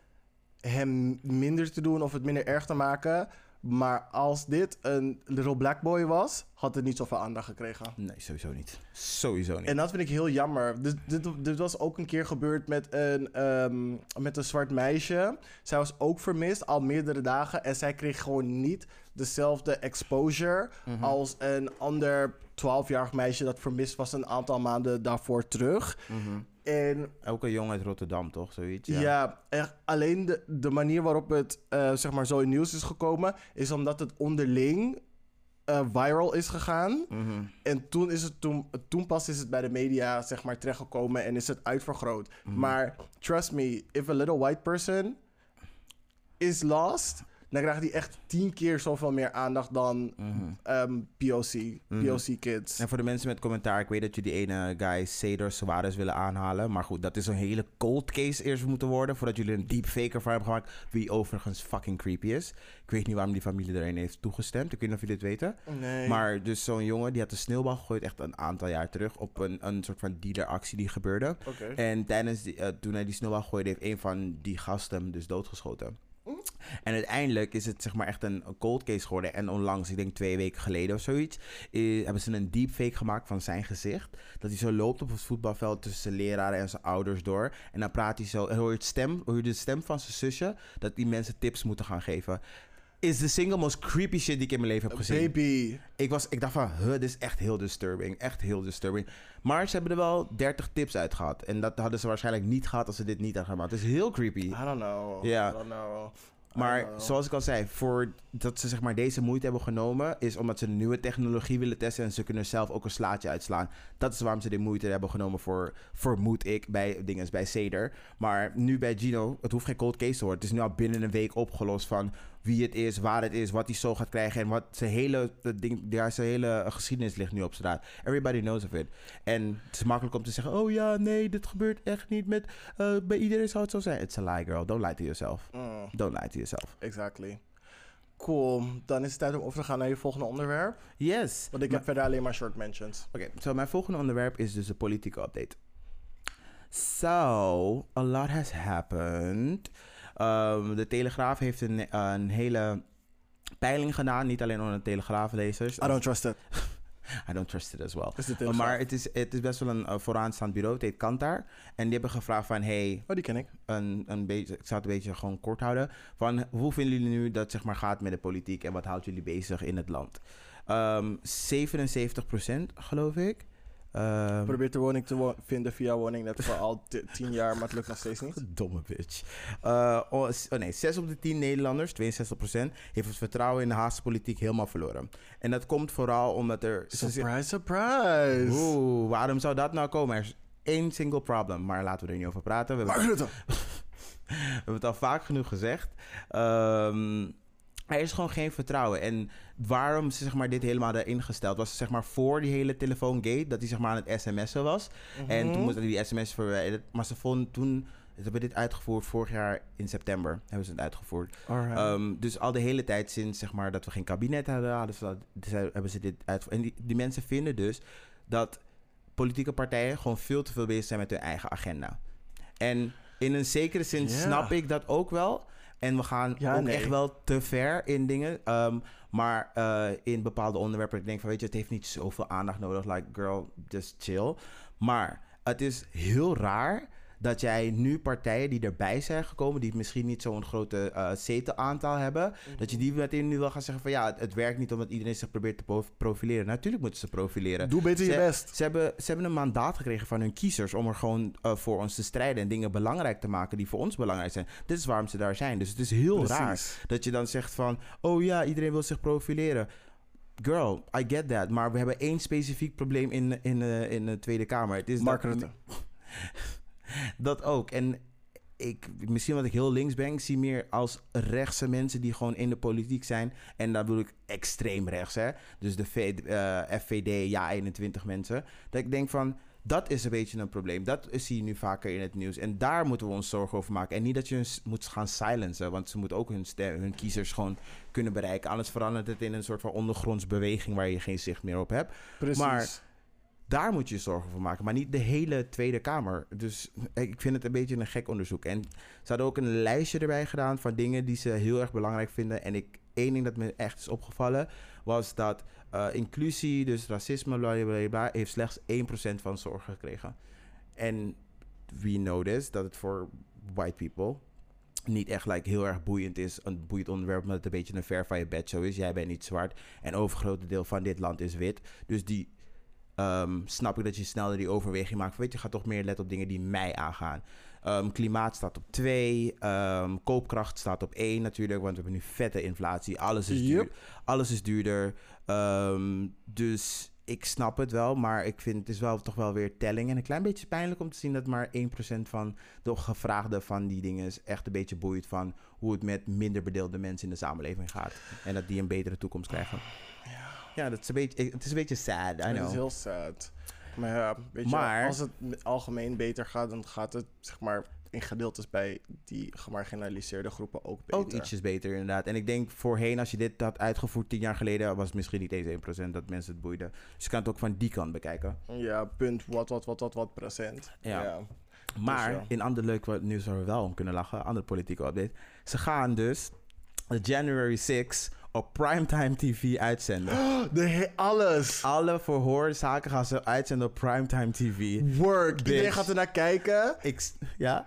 S1: hem minder te doen of het minder erg te maken, maar als dit een little black boy was, had het niet zoveel aandacht gekregen.
S2: Nee, sowieso niet. Sowieso niet.
S1: En dat vind ik heel jammer. Dit, dit, dit was ook een keer gebeurd met een, ehm, met een zwart meisje. Zij was ook vermist al meerdere dagen. En zij kreeg gewoon niet dezelfde exposure als een ander 12-jarig meisje dat vermist was een aantal maanden daarvoor terug. En
S2: Elke jongen uit Rotterdam, toch? Zoiets.
S1: ja, echt, alleen de, de manier waarop het eh, zeg maar zo in nieuws is gekomen, is omdat het onderling eh, viral is gegaan.
S2: Mhm.
S1: En toen, is het toen, toen pas is het bij de media, zeg maar, terechtgekomen en is het uitvergroot.
S2: Mhm.
S1: Maar trust me, if a little white person is lost, dan krijgt hij echt tien keer zoveel meer aandacht dan
S2: Mhm.
S1: ehm, POC, POC kids.
S2: En voor de mensen met commentaar, ik weet dat jullie die ene guy Cedar Suarez willen aanhalen. Maar goed, dat is een hele cold case eerst moeten worden. Voordat jullie een deepfaker van hebben gemaakt. Wie overigens fucking creepy is. Ik weet niet waarom die familie erin heeft toegestemd. Ik weet niet of jullie dit weten.
S1: Nee.
S2: Maar dus zo'n jongen die had een sneeuwbal gegooid echt een aantal jaar terug op een, een soort van dealeractie die gebeurde.
S1: Oké.
S2: En tijdens die, eh, toen hij die sneeuwbal gooide heeft een van die gasten hem dus doodgeschoten. En uiteindelijk is het zeg maar echt een cold case geworden. En onlangs, ik denk twee weken geleden of zoiets, eh, hebben ze een deepfake gemaakt van zijn gezicht. Dat hij zo loopt op het voetbalveld tussen zijn leraren en zijn ouders door. En dan praat hij zo. En hoor je, het stem, hoor je de stem van zijn zusje dat die mensen tips moeten gaan geven. Is de single most creepy shit die ik in mijn leven heb gezien.
S1: Baby.
S2: Ik, was, ik dacht van, huh, dit is echt heel disturbing. Echt heel disturbing. Maar ze hebben er wel 30 tips uit gehad. En dat hadden ze waarschijnlijk niet gehad als ze dit niet hadden gemaakt. Het is heel creepy.
S1: I don't know.
S2: Ja.
S1: I don't know. I
S2: Maar
S1: don't know.
S2: zoals ik al zei, voordat ze zeg maar deze moeite hebben genomen, is omdat ze nieuwe technologie willen testen en ze kunnen er zelf ook een slaatje uitslaan. Dat is waarom ze de moeite hebben genomen voor, vermoed ik, bij dingen bij Ceder. Maar nu bij Gino, het hoeft geen cold case te worden. Het is nu al binnen een week opgelost van wie het is, waar het is, wat hij zo gaat krijgen en wat zijn hele, dat ding, ja, zijn hele geschiedenis ligt nu op straat. Everybody knows of it. En het is makkelijk om te zeggen, oh ja, nee, dit gebeurt echt niet met, eh, bij iedereen zou het zo zijn. It's a lie, girl. Don't lie to yourself.
S1: Mm,
S2: Don't lie to yourself.
S1: exactly. Cool. Dan is het tijd om over te gaan naar je volgende onderwerp.
S2: Yes.
S1: Want ik
S2: Maar-
S1: heb verder alleen maar short mentions.
S2: Oké, zo mijn volgende onderwerp is dus de politieke update. So, a lot has happened. Um, de Telegraaf heeft een, een hele peiling gedaan. Niet alleen onder de Telegraaflezers.
S1: I don't trust it.
S2: I don't trust it as well.
S1: Is dit
S2: Maar het is, het is best wel een eh, vooraanstaand bureau. Het heet Kantar. En die hebben gevraagd van... Hey,
S1: Oh, die ken ik.
S2: een, een beetje, ik zou het een beetje gewoon kort houden. Van hoe vinden jullie nu dat zeg maar gaat met de politiek en wat houdt jullie bezig in het land? Ehm 77% geloof ik. Ehm,
S1: Probeer de woning te wo- vinden via woning net voor al ti- tien jaar, maar het lukt nog steeds niet.
S2: Domme bitch. Eh, oh, s- oh nee, 6 op de 10 Nederlanders, 62%, heeft het vertrouwen in de Haagse politiek helemaal verloren. En dat komt vooral omdat er. ze-
S1: Surprise, surprise.
S2: Oeh, waarom zou dat nou komen? Er is één single problem, maar laten we er niet over praten. We hebben-
S1: Mark Rutte.
S2: We hebben het al vaak genoeg gezegd. Ehm, er is gewoon geen vertrouwen. En waarom ze zeg maar, dit helemaal erin gesteld was, zeg maar voor die hele telefoongate, dat hij zeg maar, aan het sms'en was.
S1: Mhm.
S2: En toen moesten die sms'en verwijderd. Maar ze vonden toen, ze hebben dit uitgevoerd vorig jaar in september, hebben ze het uitgevoerd.
S1: Mhm. Alright.
S2: Ehm, dus al de hele tijd sinds zeg maar, dat we geen kabinet hadden, hadden ze dat, dus hebben ze dit uit. En die, die mensen vinden dus dat politieke partijen gewoon veel te veel bezig zijn met hun eigen agenda. En in een zekere zin
S1: Ja.
S2: snap ik dat ook wel. En we gaan
S1: Ja,
S2: ook
S1: nee.
S2: echt wel te ver in dingen. Ehm, maar eh, in bepaalde onderwerpen, ik denk van weet je, het heeft niet zoveel aandacht nodig. Like, girl, just chill. Maar het is heel raar dat jij nu partijen die erbij zijn gekomen, die misschien niet zo'n grote eh zetelaantal hebben,
S1: Mhm.
S2: dat je die meteen nu wel gaat zeggen van ja, het, het werkt niet omdat iedereen zich probeert te po- profileren. Natuurlijk moeten ze profileren.
S1: Doe beter je
S2: Ze-
S1: best.
S2: Ze hebben, ze hebben een mandaat gekregen van hun kiezers om er gewoon eh, voor ons te strijden en dingen belangrijk te maken die voor ons belangrijk zijn. Dit is waarom ze daar zijn. Dus het is heel raar dat je dan zegt van, oh ja, iedereen wil zich profileren. Girl, I get that. Maar we hebben één specifiek probleem in, in, eh, in de Tweede Kamer. Het is
S1: Mark
S2: dat,
S1: Rutte.
S2: dat ook. En ik, misschien wat ik heel links ben, ik zie meer als rechtse mensen die gewoon in de politiek zijn. En daar bedoel ik extreem rechts, hè. Dus de V- eh, FVD, ja, 21 mensen. Dat ik denk van, dat is een beetje een probleem. Dat zie je nu vaker in het nieuws. En daar moeten we ons zorgen over maken. En niet dat je hun s- moet gaan silencen, want ze moeten ook hun, ste- hun kiezers gewoon kunnen bereiken. Anders verandert het in een soort van ondergronds beweging waar je geen zicht meer op hebt.
S1: Precies.
S2: Maar- Daar moet je je zorgen voor maken, maar niet de hele Tweede Kamer. Dus eh, ik vind het een beetje een gek onderzoek. En ze hadden ook een lijstje erbij gedaan van dingen die ze heel erg belangrijk vinden. En ik, één ding dat me echt is opgevallen, was dat eh, inclusie, dus racisme, bla bla, bla bla, heeft slechts 1% van zorg gekregen. En we know this, dat het voor white people niet echt like, heel erg boeiend is. Een boeiend onderwerp, omdat het een beetje een ver van je bed show is. Jij bent niet zwart en overgrote deel van dit land is wit. Dus die ehm, snap ik dat je sneller die overweging maakt. Weet je, ga toch meer letten op dingen die mij aangaan. Ehm, klimaat staat op 2. koopkracht staat op 1 natuurlijk, want we hebben nu vette inflatie. Alles is, duur,
S1: Yep.
S2: alles is duurder. Ehm, dus ik snap het wel, maar ik vind het is wel toch wel weer telling. En een klein beetje pijnlijk om te zien dat maar 1% van de gevraagden van die dingen is echt een beetje boeit van hoe het met minder bedeelde mensen in de samenleving gaat. En dat die een betere toekomst krijgen. Ja, dat is een beetje, het is een beetje sad, I
S1: Het
S2: know.
S1: is heel sad. Maar ja, weet je,
S2: Maar-
S1: als het m- algemeen beter gaat, dan gaat het zeg maar in gedeeltes bij die gemarginaliseerde groepen ook beter.
S2: Ook ietsjes beter, inderdaad. En ik denk voorheen, als je dit had uitgevoerd tien jaar geleden, was het misschien niet eens 1% dat mensen het boeiden. Dus je kan het ook van die kant bekijken.
S1: Ja, punt wat, wat, wat, wat, wat procent.
S2: Ja.
S1: ja.
S2: Maar
S1: Dus ja.
S2: in ander leuk wat nieuws waar we wel om kunnen lachen, andere politieke update. Ze gaan dus January 6 op primetime TV uitzenden.
S1: De he- alles.
S2: Alle verhoorzaken gaan ze uitzenden op primetime TV.
S1: Work. Iedereen
S2: Bitch.
S1: gaat er naar kijken.
S2: Ik, s- ja?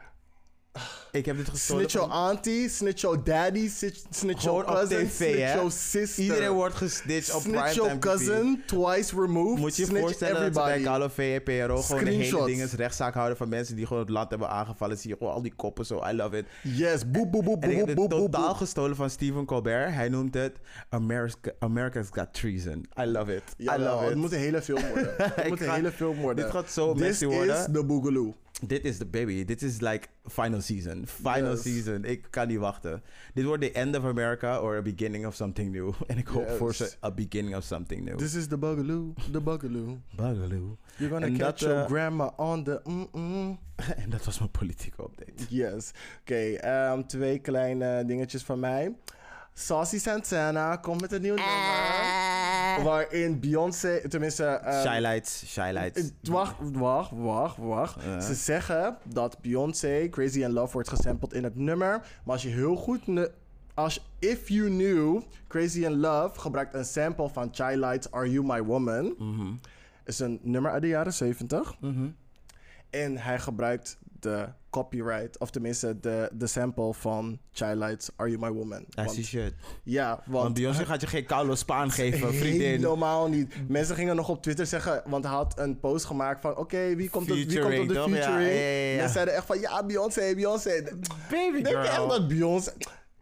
S2: Ik heb dit gestolen.
S1: Snitch your auntie, snitch your daddy, snitch, snitch your
S2: Gewoon op
S1: cousin,
S2: TV,
S1: snitch
S2: hè?
S1: your sister.
S2: Iedereen wordt gesnitcht op
S1: snitch
S2: primetime
S1: your
S2: TV.
S1: cousin, twice removed,
S2: Moet je je
S1: snitch
S2: voorstellen dat ze
S1: everybody.
S2: bij Carlo VPRO gewoon de hele
S1: Screenshots.
S2: dingen rechtszaak houden van mensen die gewoon het land hebben aangevallen. Zie je gewoon al die koppen zo, I love it.
S1: yes, boep, boep, boep,
S2: En ik heb
S1: boep,
S2: dit
S1: boep, boep,
S2: totaal
S1: boep.
S2: gestolen van Stephen Colbert. Hij noemt het America, America's Got Treason. I love it. I
S1: Jawel,
S2: love
S1: het
S2: it.
S1: moet een hele film worden. Het
S2: Ik
S1: moet een
S2: ga-
S1: hele film worden.
S2: dit gaat zo
S1: This
S2: messy worden.
S1: is de Boogaloo.
S2: Dit is de baby. Dit is like final season. Final
S1: Yes.
S2: season. Ik kan niet wachten. Dit wordt the end of America or a beginning of something new. En ik hoop voor
S1: Yes. Dus-
S2: ze a beginning of something new.
S1: This is the Boogaloo, the Boogaloo.
S2: Bagaloo.
S1: You're gonna
S2: En
S1: catch
S2: dat,
S1: your
S2: eh,
S1: grandma on the mm, mm-mm.
S2: en dat was mijn politieke update.
S1: Yes. Oké, ehm, twee kleine dingetjes van mij. Saucy Santana komt met een nieuw nummer. Waarin Beyoncé, tenminste... ehm,
S2: Shylights, Shylights.
S1: eh, Wacht, wacht, wacht, wacht.
S2: Ja.
S1: Ze zeggen dat Beyoncé Crazy in Love wordt gesampled in het nummer. Maar als je heel goed... ne- Als If You Knew, Crazy in Love gebruikt een sample van Child Lights Are You My Woman.
S2: Mhm.
S1: Is een nummer uit de jaren 70. En hij gebruikt de copyright, of tenminste de, de sample van Child Lights Are You My Woman.
S2: That's
S1: Want-
S2: your shit.
S1: ja,
S2: Want
S1: want
S2: Beyoncé gaat je geen Carlo Spaan geven, vriendin.
S1: Helemaal niet. Mensen gingen nog op Twitter zeggen, want hij had een post gemaakt van: oké, wie, komt op- wie komt op
S2: Featuring,
S1: de
S2: toch? Ja,
S1: featuring?
S2: ja, ja, ja.
S1: Mensen zeiden echt van: ja, Beyoncé, Beyoncé.
S2: Baby
S1: Denk je echt dat Beyoncé.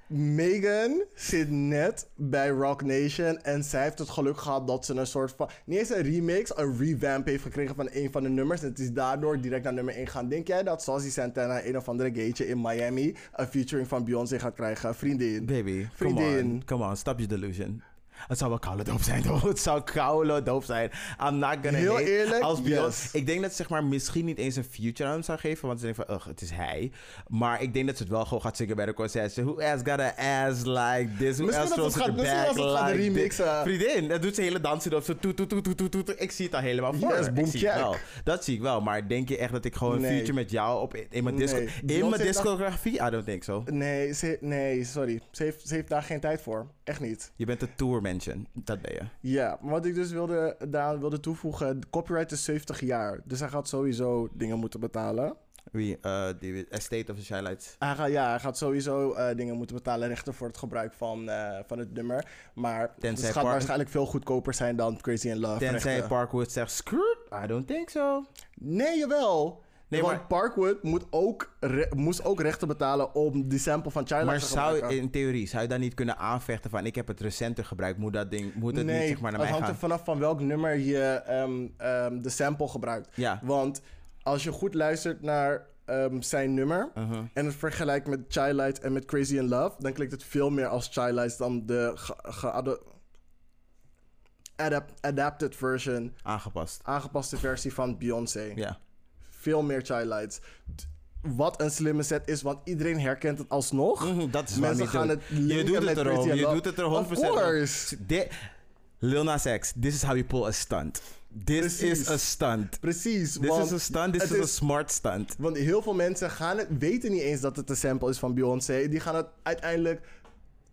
S1: Megan zit net bij Rock Nation en zij heeft het geluk gehad dat ze een soort van. Niet eens een remix, een revamp heeft gekregen van een van de nummers. En het is daardoor direct naar nummer 1 gaan. Denk jij dat Sassy Santana een of andere gateje in Miami een featuring van Beyoncé gaat krijgen? Vriendin.
S2: Baby, come
S1: Vriendin.
S2: on. Come on, stop your delusion. Het zou wel koude doof zijn, toch? Het zou koude doof zijn. I'm not gonna
S1: Heel
S2: hate
S1: eerlijk,
S2: Als Beyoncé...
S1: yes.
S2: Ik denk dat ze zeg maar, misschien niet eens een future aan hem zou geven. Want ze denken van, ugh, het is hij. Maar ik denk dat ze het wel gewoon gaat zingen bij de concert. Ze, Who else got a ass like this? Who
S1: Misschien
S2: else
S1: dat het
S2: throws it
S1: gaat- misschien
S2: back
S1: dat het gaat
S2: like
S1: remixen.
S2: this? Vriendin, dat doet ze hele dansen op. Zo toet, toet, toet, toet, toet, toet. Ik zie het al helemaal voor.
S1: Yes,
S2: me. ik zie
S1: boomkjak.
S2: het wel. Dat zie ik wel. Maar denk je echt dat ik gewoon een
S1: Nee.
S2: future met jou op, in mijn, disco,
S1: Nee.
S2: in mijn
S1: Beyoncé dacht-
S2: discografie? I don't think so.
S1: Nee, ze, nee sorry. Ze heeft, ze heeft daar geen tijd voor. Echt niet.
S2: Je bent de tour mansion. Dat ben je.
S1: Ja, maar wat ik dus wilde, daaraan wilde toevoegen... de Copyright is 70 jaar. Dus hij gaat sowieso dingen moeten betalen.
S2: Wie? eh die Estate of the Shylights.
S1: Hij gaat, ja, hij gaat sowieso eh, dingen moeten betalen... rechten voor het gebruik van, eh, van het nummer. Maar
S2: Tenzij
S1: het gaat
S2: Park-
S1: waarschijnlijk veel goedkoper zijn... dan Crazy in Love
S2: Tenzij
S1: rechten.
S2: Parkwood zegt, screw, I don't think so.
S1: Nee, jawel.
S2: Nee,
S1: Want
S2: maar-
S1: Parkwood moet ook, re- moest ook rechten betalen... om die sample van Child
S2: Maar
S1: te
S2: zou,
S1: gebruiken.
S2: in theorie, zou je daar niet kunnen aanvechten van, ik heb het recenter gebruikt, moet dat ding, moet het
S1: nee,
S2: niet zeg maar naar
S1: het
S2: mij
S1: hangt
S2: gaan?
S1: er vanaf van welk nummer je ehm, ehm, de sample gebruikt.
S2: Ja.
S1: Want als je goed luistert naar ehm, zijn nummer
S2: Uh-huh.
S1: en het vergelijkt met Child Light en met Crazy in Love, dan klinkt het veel meer als Child Light dan de ge- geado- adap- adapted version,
S2: Aangepast.
S1: aangepaste versie van Beyoncé.
S2: Ja.
S1: Veel meer Child Lights. D- Wat een slimme set is, want iedereen herkent het alsnog.
S2: Mhm, dat is
S1: Mensen
S2: waar we
S1: gaan
S2: doen.
S1: het linken
S2: Je doet
S1: met
S2: het
S1: Pretty
S2: erom.
S1: in
S2: Je
S1: Love.
S2: doet het er 100%
S1: Of course.
S2: om. Dit- Lil Nas X, this is how you pull a stunt. This
S1: Precies.
S2: is a stunt.
S1: Precies,
S2: This
S1: want
S2: is a stunt, this
S1: het
S2: is a
S1: is-
S2: smart stunt.
S1: Want heel veel mensen gaan het, weten niet eens dat het een sample is van Beyoncé. Die gaan het uiteindelijk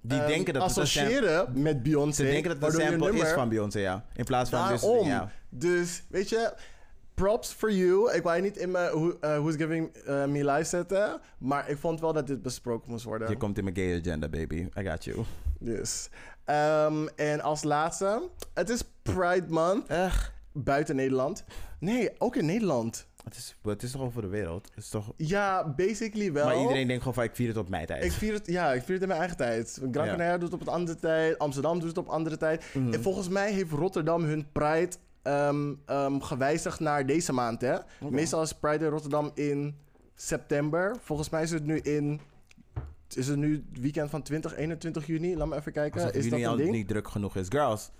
S2: Die
S1: ehm,
S2: denken dat het een sam-
S1: associëren met Beyoncé.
S2: Ze denken dat het
S1: waardoor
S2: een
S1: je
S2: sample is
S1: nummer-
S2: van Beyoncé, ja. In plaats van... dus-
S1: Daarom.
S2: ja.
S1: Dus, weet je, props for you. Ik wou je niet in mijn who, eh, Who's Giving eh, Me Live zetten. Maar ik vond wel dat dit besproken moest worden.
S2: Je komt in mijn gay agenda, baby. I got you.
S1: Dus. Ehm, en als laatste, het is Pride Month
S2: Echt?
S1: buiten Nederland. Nee, ook in Nederland.
S2: Het is, het is toch over de wereld? Het is toch...
S1: Ja, basically wel.
S2: Maar iedereen denkt gewoon van, ik vier het op mijn tijd.
S1: Ik vier het, ja, ik vier het in mijn eigen tijd. Gran
S2: Ja. Mhm.
S1: Canaria doet het op een andere tijd. Amsterdam doet het op een andere tijd. En volgens mij heeft Rotterdam hun Pride ehm, ehm, gewijzigd naar deze maand. Hè? Meestal is Pride in Rotterdam in september. Volgens mij is het nu in. Is het nu het weekend van 20, 21 juni? Laat me even kijken.
S2: Alsof
S1: is dat
S2: jullie
S1: een
S2: al
S1: ding?
S2: niet druk genoeg is. Girls,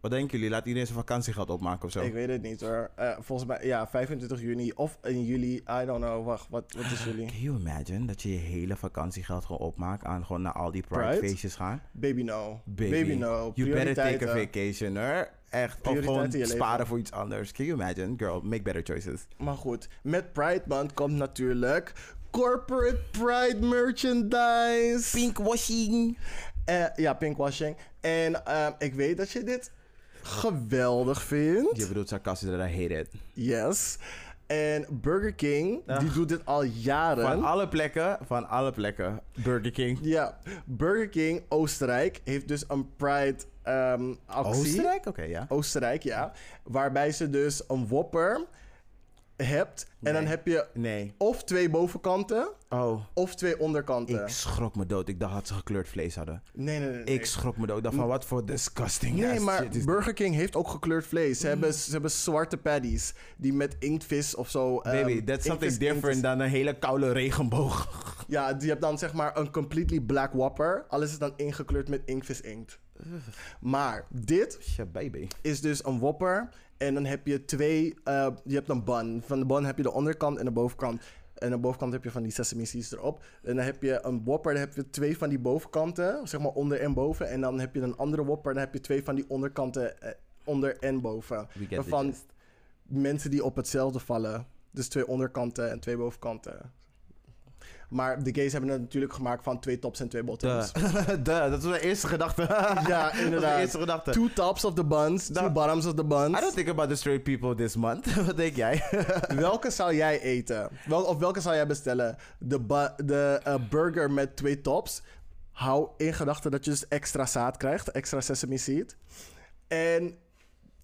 S2: wat denken jullie? Laat iedereen zijn vakantiegeld opmaken of zo?
S1: Ik weet het niet hoor. Eh, volgens mij, ja, 25 juni of in juli. I don't know. Wacht, wat, wat is jullie?
S2: Can you imagine dat je je hele vakantiegeld gewoon opmaakt aan gewoon naar al die pride,
S1: Pride?
S2: feestjes gaan?
S1: Baby no.
S2: Baby,
S1: no.
S2: You better take a
S1: Prioriteiten.
S2: vacation, hoor. Echt. Of gewoon
S1: Prioriteiten in je leven.
S2: sparen voor iets anders. Can you imagine? Girl, make better choices.
S1: Maar goed, met Pride Month komt natuurlijk corporate Pride merchandise.
S2: Pinkwashing.
S1: Eh, ja, pinkwashing. En ehm, ik weet dat je dit geweldig
S2: Je
S1: vindt.
S2: bedoelt sarcastisch dat I hate it.
S1: Yes. En Burger King, die doet dit al
S2: Van
S1: jaren.
S2: alle plekken, van alle plekken. Burger King.
S1: Ja, Burger King Oostenrijk heeft dus een Pride ehm actie.
S2: Oostenrijk? Oké, ja.
S1: Oostenrijk, ja. Waarbij ze dus een Whopper hebt. En dan
S2: Nee.
S1: heb je
S2: Nee.
S1: of twee bovenkanten
S2: Oh.
S1: of twee onderkanten.
S2: Ik schrok me dood. Ik dacht dat ze gekleurd vlees hadden.
S1: Nee, nee, nee. nee.
S2: Ik Mm. schrok me dood. Ik dacht van wat voor disgusting
S1: Nee,
S2: ass
S1: maar
S2: shit is dit.
S1: Burger King heeft ook gekleurd vlees. Ze, hebben, ze hebben zwarte paddies die met inktvis of zo. ehm,
S2: Baby, that's something
S1: inktvis-
S2: different
S1: inktvis-
S2: dan een hele koude regenboog.
S1: Ja, die hebt dan zeg maar een completely black whopper. Alles is dan ingekleurd met inktvis inkt. Maar dit
S2: Ja, baby.
S1: is dus een whopper. En dan heb je twee, eh, je hebt een bun. Van de bun heb je de onderkant en de bovenkant. En aan de bovenkant heb je van die sesame seeds erop. En dan heb je een whopper, dan heb je twee van die bovenkanten. Zeg maar onder en boven. En dan heb je een andere whopper, dan heb je twee van die onderkanten eh, onder en boven.
S2: We get the
S1: Waarvan
S2: gist.
S1: mensen die op hetzelfde vallen. Dus twee onderkanten en twee bovenkanten. Maar de gays hebben het natuurlijk gemaakt van twee tops en twee bottoms.
S2: Duh. Duh, dat was mijn eerste gedachte.
S1: Ja,
S2: Dat was
S1: inderdaad.
S2: mijn eerste gedachte.
S1: Two tops of the buns, two
S2: Nou,
S1: bottoms of the buns.
S2: I don't think about the straight people this month. Wat denk jij?
S1: Welke zou jij eten? Wel, of welke zou jij bestellen? De, ba- de eh, burger met twee tops. Hou in gedachten dat je dus extra zaad krijgt, extra sesame seed. En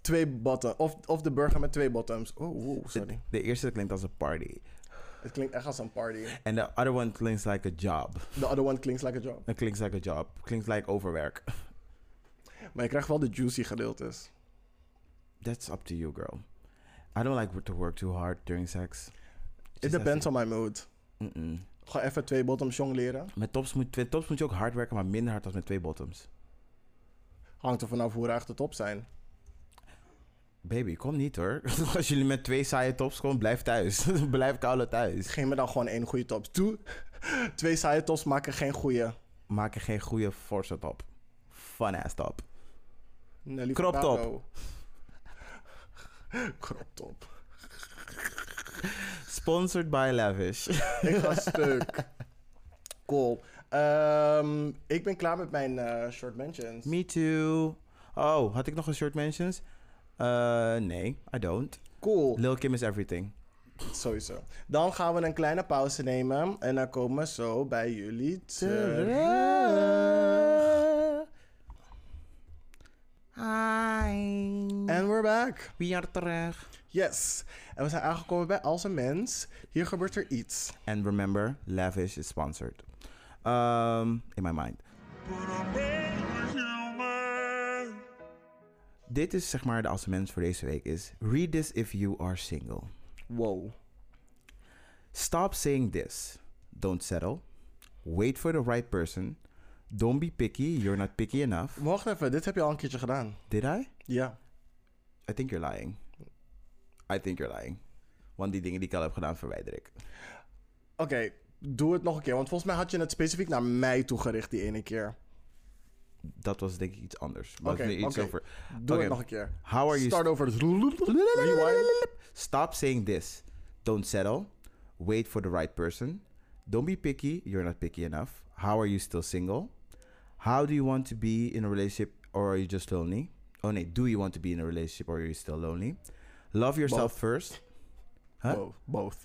S1: twee botten. Of, of de burger met twee bottoms. Oh, wow, sorry.
S2: De eerste klinkt als een party.
S1: Het klinkt echt als een party.
S2: En de other one klinkt like a job.
S1: The other one klinkt like a job.
S2: Dat klinkt like a job. Klinkt like overwerk.
S1: Maar je krijgt wel de juicy gedeeltes.
S2: That's up to you, girl. I don't like to work too hard during sex.
S1: It depends on my mood.
S2: Mm-mm.
S1: Gewoon even twee bottoms jongleren.
S2: Met tops moet, met tops moet je ook hard werken, maar minder hard dan met twee bottoms.
S1: Hangt er vanaf hoe raag de top zijn.
S2: Baby, kom niet hoor. Als jullie met twee saaie tops komen, blijf thuis. blijf koude thuis.
S1: Geef me dan gewoon één goede top. Doe. Twee saaie tops maken geen goede.
S2: Maak er geen goede forse top. Fun ass top.
S1: Nelly
S2: Crop
S1: Furtado.
S2: top.
S1: Crop top.
S2: Sponsored by Lavish.
S1: Ik ga stuk. Cool. Ehm, ik ben klaar met mijn eh, short mentions.
S2: Me too. Oh, had ik nog een short mentions? Eh, nee, I don't.
S1: Cool.
S2: Lil Kim is everything.
S1: Sowieso. Dan gaan we een kleine pauze nemen. En dan komen we zo bij jullie terug.
S2: Hi.
S1: En we're back.
S2: we are terug.
S1: Yes. En we zijn aangekomen bij Als een Mens. Hier gebeurt er iets.
S2: And remember, Lavish is sponsored. Um, in my mind. Dit is zeg maar de als mens voor deze week is. Read this if you are single.
S1: Wow.
S2: Stop saying this. Don't settle. Wait for the right person. Don't be picky. You're not picky enough.
S1: Wacht even, dit heb je al een keertje gedaan.
S2: Did I?
S1: Ja.
S2: I think you're lying. I think you're lying. Want die dingen die ik al heb gedaan verwijder ik.
S1: Oké, doe het nog een keer. Want volgens mij had je het specifiek naar mij toegericht die ene keer.
S2: Dat was denk ik iets anders. Maar
S1: Oké,
S2: het is iets
S1: oké.
S2: over.
S1: Doe
S2: Oké.
S1: het nog een keer.
S2: How are you
S1: Start over. Rewind.
S2: Stop saying this. Don't settle. Wait for the right person. Don't be picky. You're not picky enough. How are you still single? How do you want to be in a relationship or are you just lonely? Oh, nee. Do you want to be in a relationship or are you still lonely? Love yourself first. Huh?
S1: Both. Both.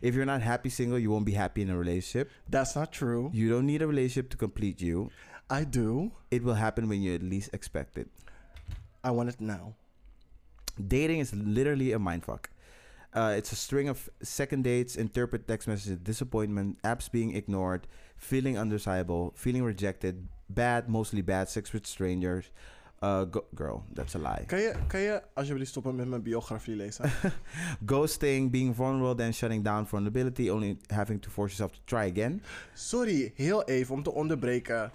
S2: If you're not happy single, you won't be happy in a relationship.
S1: That's not true.
S2: You don't need a relationship to complete you.
S1: I do.
S2: It will happen when you at least expect it.
S1: I want it now.
S2: Dating is literally a mindfuck. Uh, it's a string of second dates, interpret text messages, disappointment, apps being ignored, feeling undesirable, feeling rejected, bad, mostly bad sex with strangers. Uh, go- girl, that's a lie.
S1: Kan je, kan je alsjeblieft stoppen met mijn biografie lezen?
S2: Ghosting, being vulnerable, then shutting down vulnerability, only having to force yourself to try again.
S1: Sorry, heel even om te onderbreken.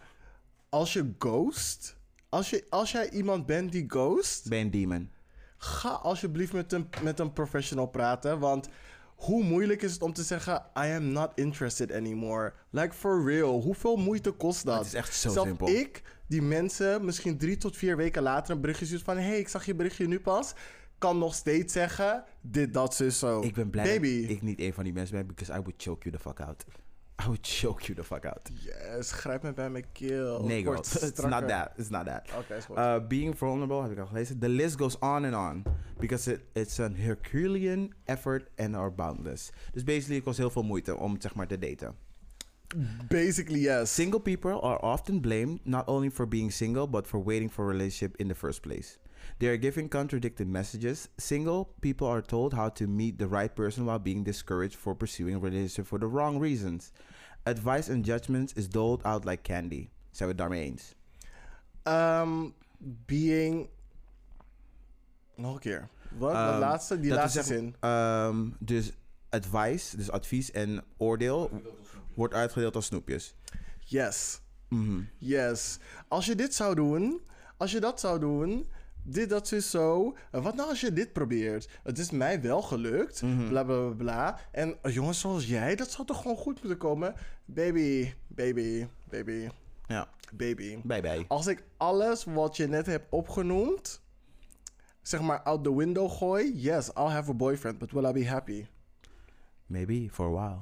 S1: Als je ghost... Als, je, als jij iemand bent die ghost...
S2: Ben demon.
S1: Ga alsjeblieft met een, met een professional praten, want... Hoe moeilijk is het om te zeggen, I am not interested anymore? Like, for real. Hoeveel moeite kost dat?
S2: Het is echt zo
S1: Zelf
S2: simpel.
S1: ik, die mensen, misschien drie tot vier weken later een berichtje stuurt van... hey, ik zag je berichtje nu pas. Kan nog steeds zeggen, dit, dat, zus, zo.
S2: Ik ben blij
S1: Baby,
S2: dat ik niet een van die mensen ben, because I would choke you the fuck out. I would choke you the fuck out.
S1: Yes, grijp me bij mijn keel.
S2: Nee, girl.
S1: Word
S2: It's not
S1: strakker.
S2: that. It's not that.
S1: Oké, is goed.
S2: Uh, being vulnerable, heb ik al gelezen. The list goes on and on. Because it, it's an Herculean effort and are boundless. Dus basically, het kost heel veel moeite om zeg maar te daten.
S1: Basically, yes.
S2: Single people are often blamed not only for being single, but for waiting for a relationship in the first place. They are given contradicting messages. Single people are told how to meet the right person while being discouraged for pursuing a relationship for the wrong reasons. Advice and judgments is doled out like candy. Zijn we het daarmee eens?
S1: Ehm, being. Nog een keer. Wat? de
S2: Ehm,
S1: laatste? Die
S2: dat we
S1: laatste
S2: zeggen-
S1: zin.
S2: Ehm, dus advice, dus advies en oordeel wordt uitgedeeld als snoepjes.
S1: Yes.
S2: Mhm.
S1: Yes. Als je dit zou doen, als je dat zou doen, dit, dat, zo, zo. En Wat nou als je dit probeert? Het is mij wel gelukt,
S2: Mm-hmm.
S1: bla, bla, bla, bla. En eh, jongens zoals jij, dat zou toch gewoon goed moeten komen? Baby, baby, baby,
S2: Ja,
S1: baby.
S2: bye bye.
S1: Als ik alles wat je net hebt opgenoemd, zeg maar out the window gooi, yes, I'll have a boyfriend, but will I be happy?
S2: Maybe for a while.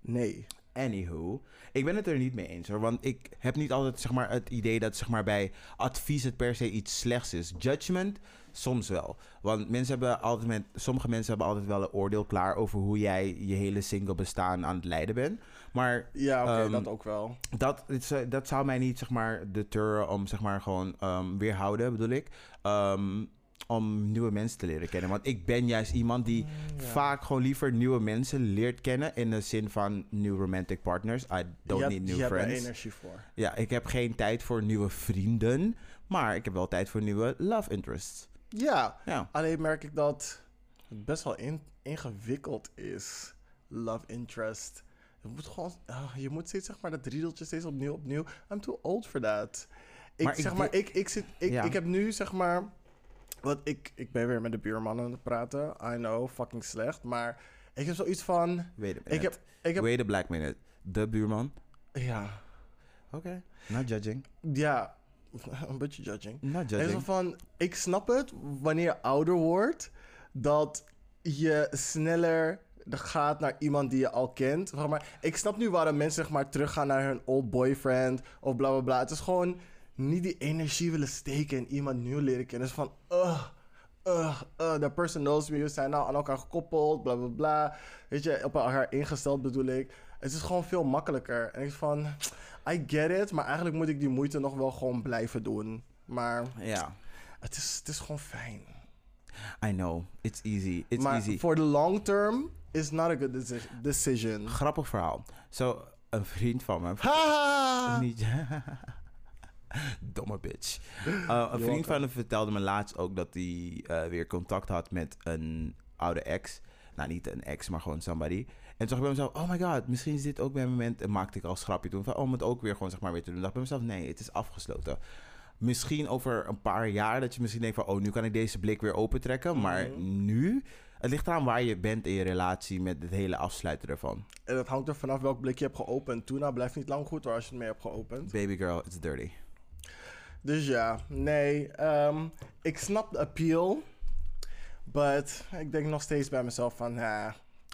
S1: Nee.
S2: Anywho, ik ben het er niet mee eens hoor. Want ik heb niet altijd zeg maar, het idee dat zeg maar, bij advies het per se iets slechts is. Judgment, soms wel. Want mensen hebben altijd met, sommige mensen hebben altijd wel een oordeel klaar over hoe jij je hele single bestaan aan het leiden bent. Maar
S1: Ja, oké,
S2: Ehm,
S1: dat ook wel.
S2: dat, het zou- dat zou mij niet zeg maar, deterren om zeg maar, gewoon ehm, weerhouden, bedoel ik. ehm, om nieuwe mensen te leren kennen. Want ik ben juist iemand die
S1: Mm,
S2: vaak gewoon liever nieuwe mensen leert kennen. In de zin van new romantic partners. I don't
S1: Je hebt-
S2: need
S1: je
S2: new
S1: hebt er
S2: friends.
S1: energie voor.
S2: Ja, ik heb geen tijd voor nieuwe vrienden. Maar ik heb wel tijd voor nieuwe love interests.
S1: Ja,
S2: Ja.
S1: Alleen merk ik dat het best wel in- ingewikkeld is. Love interest. Je moet gewoon, ah, je moet steeds zeg maar dat riedeltje steeds opnieuw, opnieuw. I'm too old for that. Ik
S2: Maar ik
S1: zeg maar, ik, ik zit, ik,
S2: Ja.
S1: ik heb nu zeg maar, want ik, ik ben weer met de buurman aan het praten. I know, fucking slecht. Maar ik heb zoiets van,
S2: Wait a minute.
S1: ik heb, ik heb,
S2: Wait a black minute. De buurman.
S1: ja,
S2: Oké. Not judging.
S1: ja, een beetje judging.
S2: Not
S1: En zo
S2: judging.
S1: van, ik snap het, wanneer je ouder wordt, dat je sneller gaat naar iemand die je al kent. Zeg maar, ik snap nu waarom mensen zeg maar, teruggaan naar hun old boyfriend of bla bla bla. Het is gewoon niet die energie willen steken in iemand nieuw leren kennen. Het is van, ugh, ugh, ugh, that person knows me. We zijn nou aan elkaar gekoppeld, bla bla bla. Weet je, op elkaar ingesteld bedoel ik. Het is gewoon veel makkelijker. En ik is van, I get it, maar eigenlijk moet ik die moeite nog wel gewoon blijven doen. Maar...
S2: Ja.
S1: Het is, het is gewoon fijn.
S2: I know. It's easy. It's
S1: maar
S2: easy.
S1: voor de long term is not a good deci- decision.
S2: Grappig verhaal. Zo, een vriend van me.
S1: Haha!
S2: Niet, domme bitch. Uh, een vriend van me vertelde me laatst ook dat hij eh, weer contact had met een oude ex. Nou, niet een ex, maar gewoon somebody. En toen dacht ik bij mezelf, oh my god, misschien is dit ook bij een moment... En maakte ik al een schrapje toen van, oh, om het ook weer gewoon zeg maar weer te doen. dacht ik bij mezelf, nee, het is afgesloten. Misschien over een paar jaar dat je misschien denkt van... oh, nu kan ik deze blik weer opentrekken. Maar nu, het ligt eraan waar je bent in je relatie met het hele afsluiten ervan.
S1: En dat hangt er vanaf welk blik je hebt geopend. Tuna blijft niet lang goed hoor als je het mee hebt geopend.
S2: Baby girl, it's dirty.
S1: Dus ja, nee. ehm, ik snap de appeal. But ik denk nog steeds bij mezelf van... ha,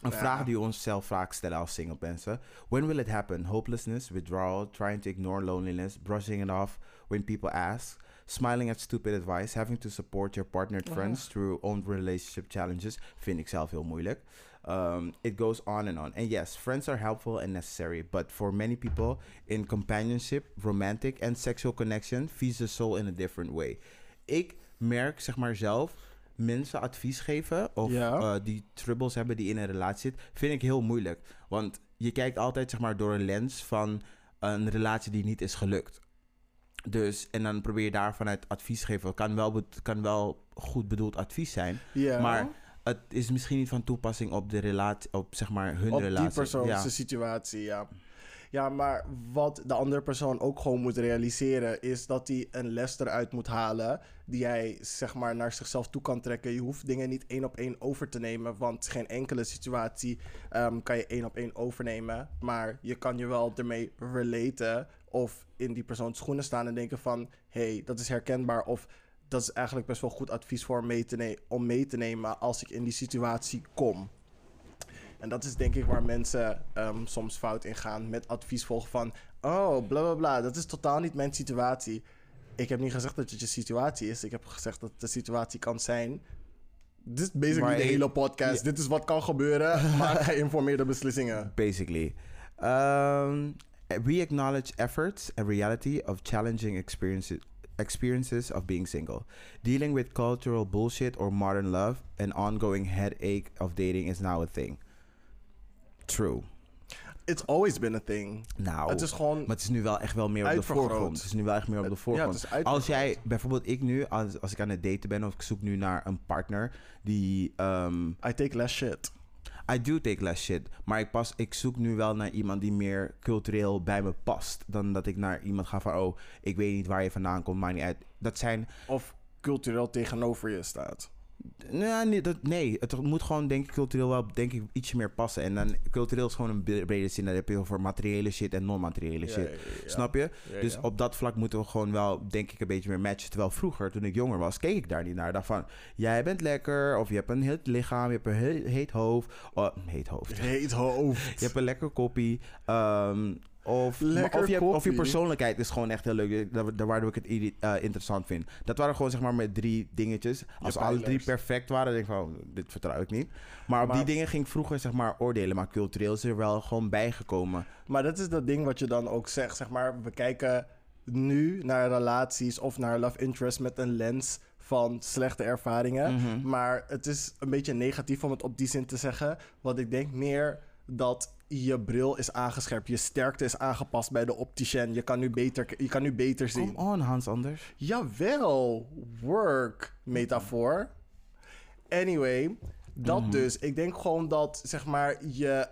S2: Een
S1: Ja.
S2: vraag die we onszelf vaak stellen als single mensen. When will it happen? Hopelessness, withdrawal, trying to ignore loneliness, brushing it off when people ask, smiling at stupid advice, having to support your partnered friends through own relationship challenges. Vind ik zelf heel moeilijk. Um, it goes on and on. And yes, friends are helpful and necessary, but for many people, in companionship, romantic and sexual connection feeds the soul in a different way. Ik merk zeg maar zelf mensen advies geven of
S1: Ja.
S2: eh, die troubles hebben die in een relatie zit, vind ik heel moeilijk. Want je kijkt altijd zeg maar door een lens van een relatie die niet is gelukt. Dus, en dan probeer je daar vanuit advies te geven. Kan wel, bet- kan wel goed bedoeld advies zijn.
S1: ja.
S2: Maar het is misschien niet van toepassing op de relatie, op zeg maar hun
S1: op
S2: relatie.
S1: die persoon,
S2: Ja.
S1: zijn situatie, ja. Ja, maar wat de andere persoon ook gewoon moet realiseren... is dat hij een les eruit moet halen... die hij, zeg maar, naar zichzelf toe kan trekken. Je hoeft dingen niet één op één over te nemen... want geen enkele situatie ehm, kan je één op één overnemen. Maar je kan je wel ermee relaten... of in die persoons schoenen staan en denken van... hé, hey, dat is herkenbaar of... Dat is eigenlijk best wel goed advies voor mee te ne- om mee te nemen als ik in die situatie kom. En dat is denk ik waar mensen ehm, soms fout in gaan met advies volgen van... Oh, bla bla bla, dat is totaal niet mijn situatie. Ik heb niet gezegd dat het je situatie is. Ik heb gezegd dat het de situatie kan zijn. Dit is basically
S2: Maar
S1: de
S2: je-
S1: hele podcast. Dit is wat kan gebeuren. Maak geïnformeerde beslissingen.
S2: basically. Um, we acknowledge efforts and reality of challenging experiences experiences of being single. Dealing with cultural bullshit or modern love, an ongoing headache of dating is now a thing. True.
S1: It's always been a thing.
S2: Nou,
S1: Het is gewoon...
S2: maar het is nu wel echt wel meer op de
S1: Uitvergroot.
S2: voorgrond. Het is nu wel echt meer op de
S1: ja,
S2: voorgrond.
S1: het is uit...
S2: Als jij, bijvoorbeeld ik nu, als, als ik aan het daten ben of ik zoek nu naar een partner die... ehm,
S1: I take less shit.
S2: I do take less shit. Maar ik, pas, ik zoek nu wel naar iemand die meer cultureel bij me past. Dan dat ik naar iemand ga van, oh, ik weet niet waar je vandaan komt, maar niet uit. Dat zijn...
S1: Of cultureel tegenover je staat.
S2: Nee, nee, nou dat, nee, het moet gewoon denk ik cultureel wel denk ik, ietsje meer passen. En dan cultureel is gewoon een bre- brede zin. Dan heb je over materiële shit en non-materiële
S1: Ja,
S2: shit.
S1: ja, ja, ja.
S2: Snap je?
S1: Ja,
S2: Dus
S1: ja.
S2: op dat vlak moeten we gewoon wel, denk ik, een beetje meer matchen. Terwijl vroeger, toen ik jonger was, keek ik daar niet naar. Dacht van, jij bent lekker, of je hebt een heet lichaam, je hebt een he- heet hoofd. Oh, heet hoofd.
S1: Heet hoofd.
S2: Je hebt een lekker koppie. ehm, of,
S1: Lekker
S2: maar of, je, hebt- of je
S1: koppie.
S2: persoonlijkheid is gewoon echt heel leuk. Daar, daar waardoor ik het irri- eh, interessant vind. Dat waren gewoon zeg maar met drie dingetjes. Als alle drie
S1: pijlers.
S2: perfect waren, denk ik van, oh, dit vertrouw ik niet. Maar op
S1: Maar-
S2: die dingen ging ik vroeger zeg maar oordelen. Maar cultureel is er wel gewoon bijgekomen.
S1: Maar dat is dat ding wat je dan ook zegt. Zeg maar, we kijken nu naar relaties of naar love interest met een lens van slechte ervaringen. Maar het is een beetje negatief om het op die zin te zeggen. Want ik denk meer dat je bril is aangescherpt. Je sterkte is aangepast bij de opticien. Je kan nu beter, je kan nu beter zien.
S2: Come on, Hans Anders.
S1: Jawel, work metafoor. Anyway, dat dus. Ik denk gewoon dat zeg maar je,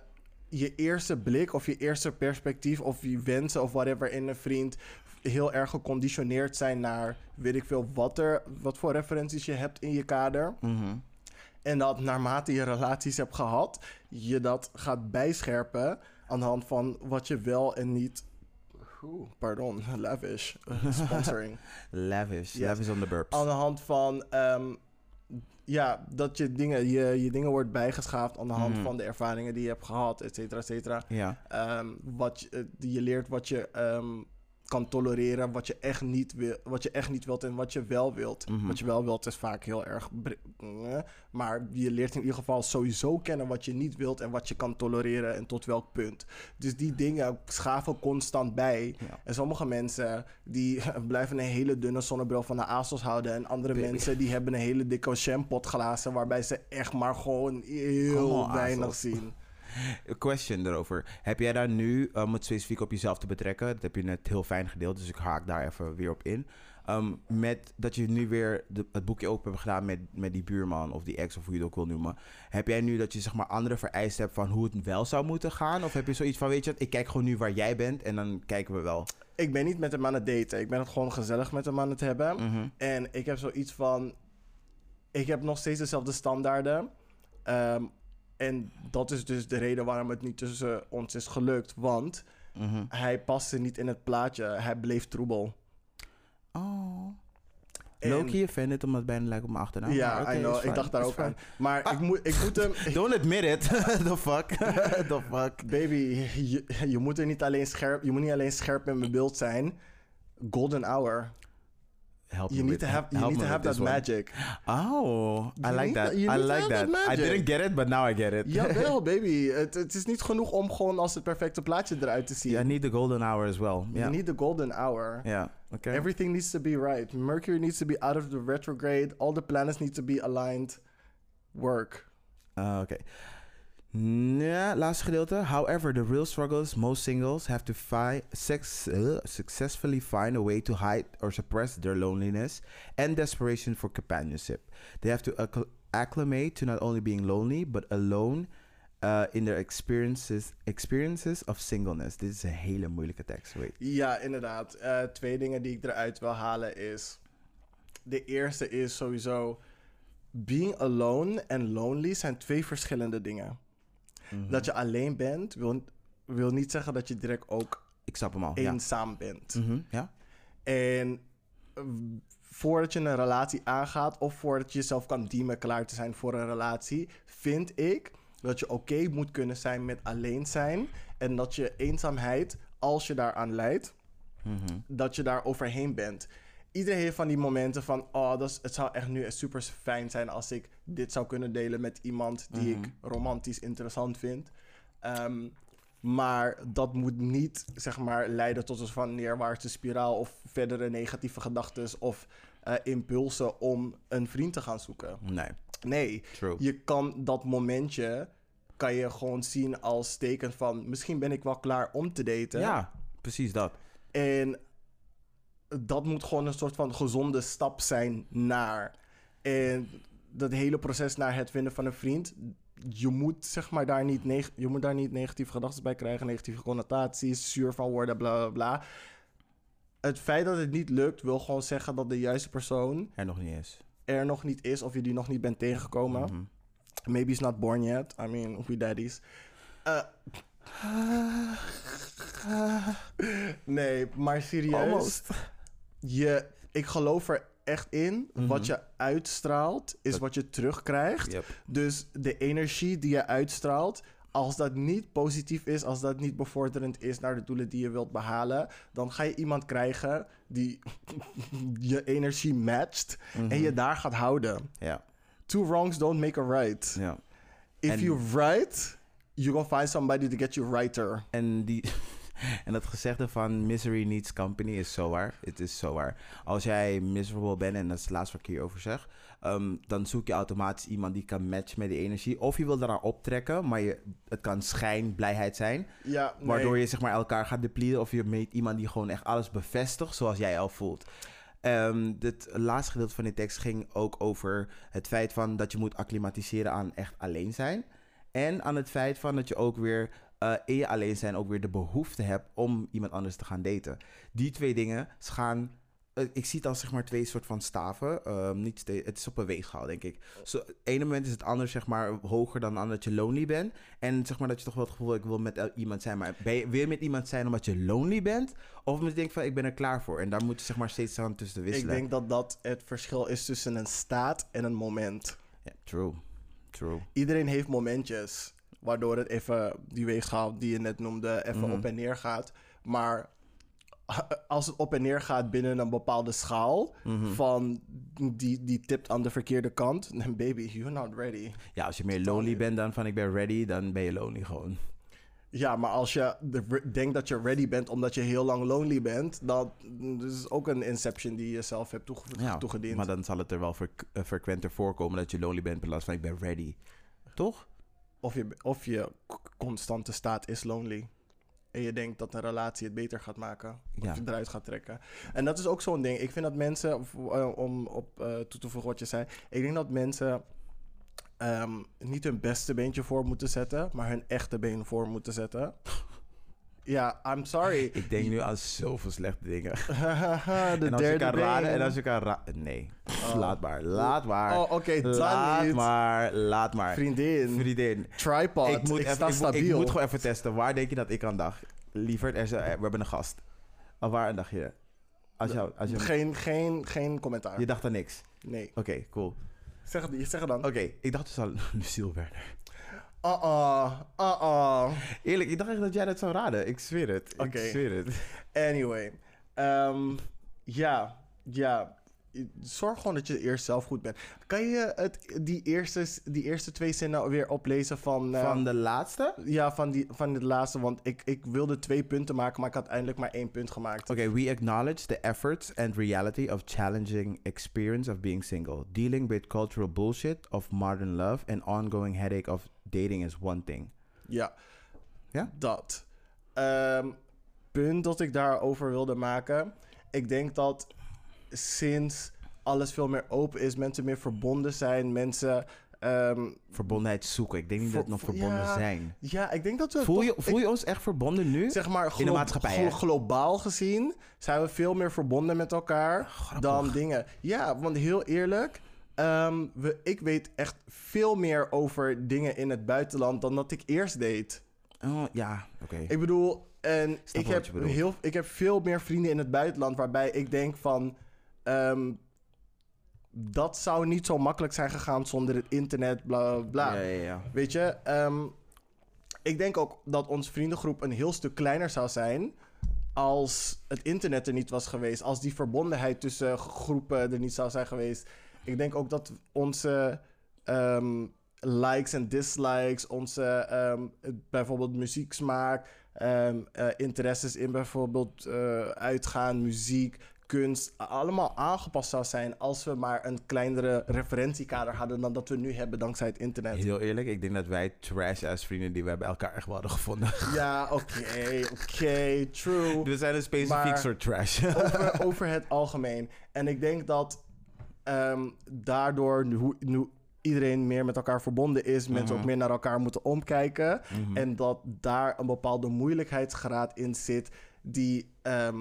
S1: je eerste blik of je eerste perspectief of je wensen of whatever in een vriend heel erg geconditioneerd zijn naar weet ik veel wat er wat voor referenties je hebt in je kader. En dat naarmate je relaties hebt gehad, je dat gaat bijscherpen aan de hand van wat je wel en niet. Oeh, pardon, lavish. eh, Sponsoring
S2: Lavish.
S1: Yes.
S2: Lavish on the burps.
S1: aan de hand van. ehm, ja, dat je dingen, je, je dingen wordt bijgeschaafd aan de hand
S2: Mhm.
S1: van de ervaringen die je hebt gehad, et cetera, et cetera.
S2: Ja.
S1: Ehm, wat je, eh, die je leert wat je ehm, kan tolereren, wat je, echt niet wil, wat je echt niet wilt en wat je wel wilt.
S2: Mhm.
S1: Wat je wel wilt is vaak heel erg. bre- eh, Maar je leert in ieder geval sowieso kennen wat je niet wilt en wat je kan tolereren en tot welk punt. Dus die dingen schaven constant bij.
S2: Ja.
S1: En sommige mensen die blijven een hele dunne zonnebril van de ASOS houden. En andere
S2: Baby.
S1: mensen die hebben een hele dikke shampotglazen waarbij ze echt maar gewoon heel
S2: Come on,
S1: weinig
S2: ASOS.
S1: zien.
S2: Een question daarover. Heb jij daar nu, eh, om het specifiek op jezelf te betrekken, dat heb je net heel fijn gedeeld, dus ik haak daar even weer op in. Ehm, met dat je nu weer de- het boekje open hebt gedaan met, met die buurman of die ex of hoe je het ook wil noemen. Heb jij nu dat je zeg maar andere vereisten hebt van hoe het wel zou moeten gaan? Of heb je zoiets van, weet je wat, ik kijk gewoon nu waar jij bent en dan kijken we wel.
S1: ik ben niet met hem aan het daten. Ik ben het gewoon gezellig met hem aan het hebben.
S2: Mhm.
S1: En ik heb zoiets van. Ik heb nog steeds dezelfde standaarden. Ehm, en dat is dus de reden waarom het niet tussen ons is gelukt. Want
S2: Mhm.
S1: hij paste niet in het plaatje. Hij bleef troebel.
S2: Oh.
S1: En-
S2: Loki, je vindt het omdat het bijna lijkt op mijn achternaam.
S1: ja,
S2: maar Ah, oké,
S1: I
S2: is
S1: know.
S2: fine,
S1: Ik dacht daar
S2: is Ah.
S1: ook
S2: fine.
S1: aan. Maar ik, moet, ik moet hem.
S2: Don't admit it. The fuck. The fuck.
S1: Baby, je, je moet er niet alleen scherp. Je moet niet alleen scherp in mijn beeld zijn. Golden hour.
S2: Help me
S1: You need
S2: with-
S1: to have, you
S2: help
S1: need
S2: me
S1: to
S2: with
S1: have that
S2: this one.
S1: magic.
S2: Oh, I
S1: You
S2: like
S1: need that-
S2: that.
S1: you
S2: I
S1: need to
S2: like
S1: have
S2: that.
S1: that
S2: I
S1: magic.
S2: didn't get it, but now I get it.
S1: Jawel, baby. Het, het is niet genoeg om gewoon als het perfecte plaatje eruit te zien.
S2: I need the golden hour as well.
S1: You
S2: Yeah.
S1: need the golden hour.
S2: yeah. Okay.
S1: Everything needs to be right. Mercury needs to be out of the retrograde. All the planets need to be aligned. Work.
S2: Uh, okay. Ja, laatste gedeelte. However, the real struggles most singles have to fi- sex- uh, successfully find a way to hide or suppress their loneliness and desperation for companionship. They have to acc- acclimate to not only being lonely, but alone uh, in their experiences, experiences of singleness. Dit is een hele moeilijke tekst. Wait.
S1: Ja, inderdaad. Eh, twee dingen die ik eruit wil halen is... De eerste is sowieso... Being alone en lonely zijn twee verschillende dingen.
S2: Mhm.
S1: Dat je alleen bent, wil, wil niet zeggen dat je direct ook
S2: Ik snap hem al. Ja.
S1: eenzaam bent.
S2: Mhm, ja.
S1: En eh, voordat je een relatie aangaat of voordat je jezelf kan diemen klaar te zijn voor een relatie, vind ik dat je oké moet kunnen zijn met alleen zijn. En dat je eenzaamheid, als je daaraan leidt,
S2: Mhm.
S1: dat je daar overheen bent. Iedereen heeft van die momenten van, oh, dat is, het zou echt nu super fijn zijn als ik dit zou kunnen delen met iemand die
S2: Mhm.
S1: ik romantisch interessant vind. Ehm, maar dat moet niet, zeg maar, leiden tot een soort van neerwaartse spiraal of verdere negatieve gedachten of eh, impulsen om een vriend te gaan zoeken.
S2: Nee,
S1: Nee,
S2: true.
S1: je kan dat momentje kan je gewoon zien als teken van misschien ben ik wel klaar om te daten.
S2: Ja, precies dat.
S1: En dat moet gewoon een soort van gezonde stap zijn naar. En dat hele proces naar het vinden van een vriend. Je moet, zeg maar, daar niet, neg- je moet daar niet negatieve gedachten bij krijgen, negatieve connotaties, zuur van worden, bla bla bla. Het feit dat het niet lukt, wil gewoon zeggen dat de juiste persoon
S2: Er nog niet eens.
S1: er nog niet is of je die nog niet bent tegengekomen.
S2: Mhm.
S1: Maybe he's not born yet. I mean, we daddies. Eh, nee, maar serieus.
S2: Almost.
S1: Je, ik geloof er echt in. Wat je uitstraalt is
S2: Mhm. Dat-
S1: wat je terugkrijgt.
S2: Yep.
S1: Dus de energie die je uitstraalt. Als dat niet positief is, als dat niet bevorderend is naar de doelen die je wilt behalen, dan ga je iemand krijgen die je energie matcht en
S2: Mhm.
S1: je daar gaat houden.
S2: Ja,
S1: Two wrongs don't make a right.
S2: ja.
S1: If
S2: En-
S1: you write, you gonna find somebody to get you writer.
S2: En, die, en dat gezegde van misery needs company is zo waar. Het is zo waar. Als jij miserable bent, en dat is het laatste wat ik hierover zeg, ehm, dan zoek je automatisch iemand die kan matchen met die energie. Of je wil daaraan optrekken, maar je, het kan schijnblijheid zijn.
S1: Ja, nee.
S2: Waardoor je zeg maar elkaar gaat depleten of je meet iemand die gewoon echt alles bevestigt zoals jij al voelt. Ehm het laatste gedeelte van die tekst ging ook over het feit van dat je moet acclimatiseren aan echt alleen zijn. En aan het feit van dat je ook weer eh, in je alleen zijn ook weer de behoefte hebt om iemand anders te gaan daten. Die twee dingen gaan... eh, ik zie het als zeg maar twee soort van staven. Ehm, niet ste- het is op een weegschaal, denk ik. Zo, het ene moment is het ander zeg maar hoger dan aan dat je lonely bent. En zeg maar dat je toch wel het gevoel hebt, ik wil met el- iemand zijn. Maar ben je weer met iemand zijn omdat je lonely bent? Of omdat je denkt van, ik ben er klaar voor. En daar moet je zeg maar steeds aan tussen
S1: Ik
S2: wisselen.
S1: denk dat dat het verschil is tussen een staat en een moment.
S2: Ja, true, true.
S1: Iedereen heeft momentjes waardoor het even die weegschaal die je net noemde even
S2: Mhm.
S1: op en neer gaat. Maar als het op en neer gaat binnen een bepaalde schaal
S2: Mhm.
S1: van die, die tipt aan de verkeerde kant, dan baby, you're not ready.
S2: Ja, als je meer lonely bent dan van ik ben ready, dan ben je lonely gewoon.
S1: Ja, maar als je de- denkt dat je ready bent omdat je heel lang lonely bent, dat dat is ook een inception die je zelf hebt toege
S2: Ja,
S1: toegediend.
S2: maar dan zal het er wel frequ- eh, frequenter voorkomen dat je lonely bent in plaats van ik ben ready. Toch?
S1: Of, je, of je k- constante staat is lonely. En je denkt dat een relatie het beter gaat maken. Of
S2: Ja.
S1: je eruit gaat trekken. En dat is ook zo'n ding. Ik vind dat mensen, of, eh, om op eh, toe te voegen wat je zei. Ik denk dat mensen ehm, niet hun beste beentje voor moeten zetten. Maar hun echte been voor moeten zetten. Ja, I'm sorry.
S2: Ik denk nu aan zoveel slechte dingen.
S1: de
S2: en als je
S1: derde
S2: kan raden, en
S1: been.
S2: als je kan raden... Nee, laat maar, laat maar.
S1: Oh, oké, dan
S2: laat
S1: niet.
S2: maar, laat maar.
S1: Vriendin,
S2: Vriendin.
S1: tripod, ik,
S2: ik moet, even,
S1: sta
S2: ik, moet-
S1: stabiel.
S2: ik moet gewoon even testen. Waar denk je dat ik aan dacht? Lieverd, er is- eh, we hebben een gast. Of waar dacht je? Als jou, als je,
S1: geen, geen, geen commentaar.
S2: je dacht aan niks.
S1: Nee.
S2: Oké, cool.
S1: Zeg het, zeg het dan.
S2: Oké, ik dacht dus aan Lucille Werner.
S1: Uh-uh, uh-uh.
S2: Eerlijk, ik dacht echt dat jij dat zou raden. Ik zweer het.
S1: Oké.
S2: Ik zweer het.
S1: Anyway. ehm, ja, ja. Zorg gewoon dat je eerst zelf goed bent. Kan je het, die, eerste, die eerste twee zinnen weer oplezen van... eh,
S2: Van de laatste?
S1: Ja, van, die, van dit laatste. Want ik, ik wilde twee punten maken, maar ik had eindelijk maar één punt gemaakt.
S2: Okay, we acknowledge the efforts and reality of challenging experience of being single. Dealing with cultural bullshit of modern love and ongoing headache of dating is one thing.
S1: Ja.
S2: Ja?
S1: Dat. Ehm, punt dat ik daarover wilde maken. Ik denk dat sinds alles veel meer open is, mensen meer verbonden zijn, mensen. ehm,
S2: Verbondenheid zoeken. Ik denk niet
S1: Ver-
S2: dat we nog
S1: ver-
S2: verbonden
S1: ja.
S2: zijn.
S1: ja, ik denk dat we.
S2: Voel
S1: toch-
S2: je, voel je ons echt verbonden nu?
S1: Zeg maar glo-
S2: maatschappij,
S1: glo-
S2: hè?
S1: globaal gezien zijn we veel meer verbonden met elkaar dan dingen. Ja, want heel eerlijk, ehm, we, ik weet echt veel meer over dingen in het buitenland dan dat ik eerst deed.
S2: Oh, ja, oké.
S1: Ik bedoel, en
S2: Snap
S1: ik
S2: wat
S1: heb,
S2: je bedoelt.
S1: heel, ik heb veel meer vrienden in het buitenland waarbij ik denk van. ehm, dat zou niet zo makkelijk zijn gegaan zonder het internet, bla bla bla.
S2: Ja, ja, ja.
S1: Weet je, ehm, ik denk ook dat onze vriendengroep een heel stuk kleiner zou zijn. als het internet er niet was geweest. Als die verbondenheid tussen groepen er niet zou zijn geweest. Ik denk ook dat onze ehm, likes en dislikes, onze ehm, het- bijvoorbeeld muzieksmaak, ehm, eh, interesses in bijvoorbeeld eh, uitgaan, muziek, kunst, a- allemaal aangepast zou zijn als we maar een kleinere referentiekader hadden dan dat we nu hebben dankzij het internet.
S2: Heel eerlijk, ik denk dat wij trash als vrienden die we hebben elkaar echt wel hadden gevonden.
S1: Ja, oké, oké, true.
S2: We zijn een specifiek
S1: Maar-
S2: soort trash.
S1: Over, over het algemeen. En ik denk dat ehm, daardoor, nu, hoe- nu iedereen meer met elkaar verbonden is, mensen ook meer naar elkaar moeten omkijken. En dat daar een bepaalde moeilijkheidsgraad in zit die. ehm,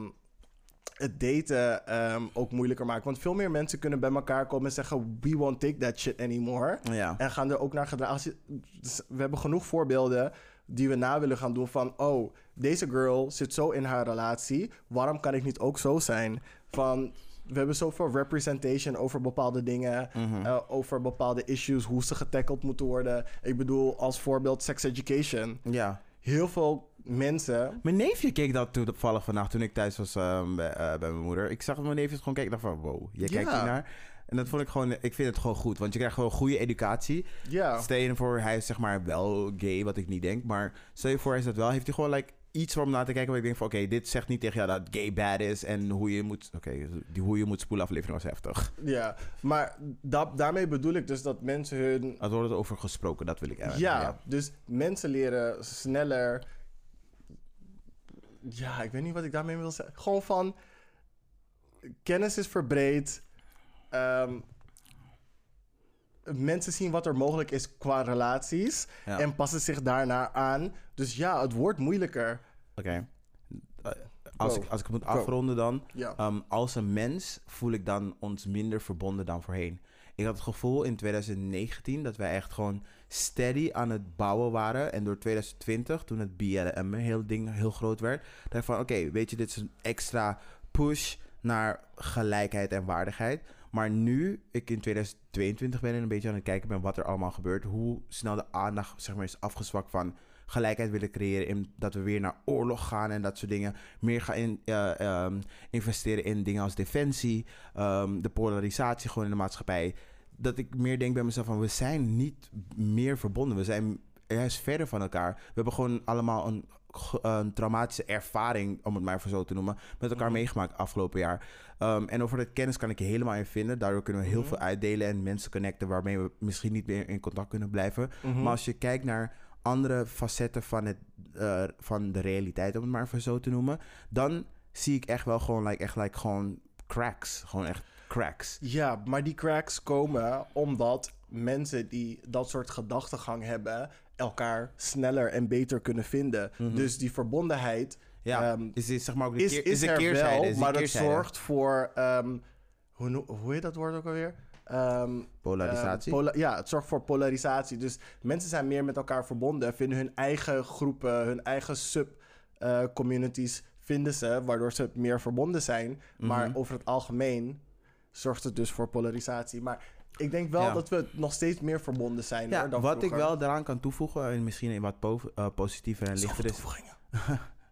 S1: het daten ehm, ook moeilijker maakt. Want veel meer mensen kunnen bij elkaar komen en zeggen: We won't take that shit anymore.
S2: ja.
S1: En gaan er ook naar gedragen. Als je- dus We hebben genoeg voorbeelden die we na willen gaan doen van... oh, deze girl zit zo in haar relatie. Waarom kan ik niet ook zo zijn? Van, we hebben zoveel representation over bepaalde dingen... eh, over bepaalde issues, hoe ze getackled moeten worden. Ik bedoel, als voorbeeld sex education.
S2: ja.
S1: Heel veel mensen...
S2: Mijn neefje keek dat toen- toevallig vannacht toen ik thuis was ehm, bij, eh, bij mijn moeder. Ik zag dat mijn neefjes gewoon kijken. Ik dacht van, wow, je kijkt
S1: Ja.
S2: hiernaar. En dat vond ik gewoon, ik vind het gewoon goed. Want je krijgt gewoon goede educatie.
S1: Ja,
S2: Stel je voor, hij is zeg maar wel gay, wat ik niet denk. Maar stel je voor, hij is dat wel. Heeft hij gewoon like, iets om naar te kijken. Waar ik denk van, oké, dit zegt niet tegen jou dat gay bad is. En hoe je moet, oké, die hoe je moet spoelen aflevering was heftig.
S1: ja. maar da- daarmee bedoel ik dus dat mensen hun
S2: Er wordt over gesproken, dat wil ik eigenlijk.
S1: Ja, dus mensen leren sneller. Ja, ik weet niet wat ik daarmee wil zeggen. Gewoon van. Kennis is verbreed. Ehm, mensen zien wat er mogelijk is qua relaties.
S2: Ja.
S1: En passen zich daarna aan. Dus ja, het wordt moeilijker.
S2: Oké. Eh, Als,
S1: Go.
S2: ik, als ik het moet afronden dan.
S1: Ja.
S2: Ehm, als een mens voel ik dan ons minder verbonden dan voorheen. Ik had het gevoel in 2019 dat wij echt gewoon steady aan het bouwen waren. En door 2020, toen het BLM heel ding heel groot werd, dacht ik van oké, weet je, dit is een extra push naar gelijkheid en waardigheid. Maar nu ik in 2022 ben en een beetje aan het kijken ben wat er allemaal gebeurt, hoe snel de aandacht zeg maar, is afgezwakt van gelijkheid willen creëren. In dat we weer naar oorlog gaan en dat soort dingen. Meer gaan in, eh, ehm, investeren in dingen als defensie, ehm, de polarisatie gewoon in de maatschappij. Dat ik meer denk bij mezelf van we zijn niet meer verbonden. We zijn juist verder van elkaar. We hebben gewoon allemaal een, ge- een traumatische ervaring, om het maar even zo te noemen, met elkaar
S1: Mhm.
S2: meegemaakt afgelopen jaar. Ehm, en over dat kennis kan ik je helemaal in vinden. Daardoor kunnen we heel
S1: Mhm.
S2: veel uitdelen en mensen connecten waarmee we misschien niet meer in contact kunnen blijven.
S1: Mhm.
S2: Maar als je kijkt naar andere facetten van, het, eh, van de realiteit, om het maar even zo te noemen, dan zie ik echt wel gewoon, like, echt, like, gewoon cracks. Gewoon echt cracks.
S1: Ja, maar die cracks komen omdat mensen die dat soort gedachtegang hebben. elkaar sneller en beter kunnen vinden. Dus die verbondenheid.
S2: Ja,
S1: ehm,
S2: is, is zeg maar ook de,
S1: is,
S2: keer-
S1: is,
S2: is de
S1: er
S2: keerzijde.
S1: wel,
S2: is de
S1: maar dat
S2: keerzijde.
S1: zorgt voor... ehm, hoe, noe- hoe heet dat woord ook alweer? Ehm,
S2: Polarisatie.
S1: eh, pola- ja, het zorgt voor polarisatie. Dus mensen zijn meer met elkaar verbonden, vinden hun eigen groepen, hun eigen sub-communities vinden ze, waardoor ze meer verbonden zijn.
S2: Mhm.
S1: Maar over het algemeen zorgt het dus voor polarisatie. Maar ik denk wel
S2: Ja.
S1: dat we nog steeds meer verbonden zijn.
S2: ja,
S1: hoor, dan
S2: wat ik
S1: vroeger.
S2: wel daaraan kan toevoegen, en misschien in wat po- eh, positiever en lichter is...
S1: Toevoegingen.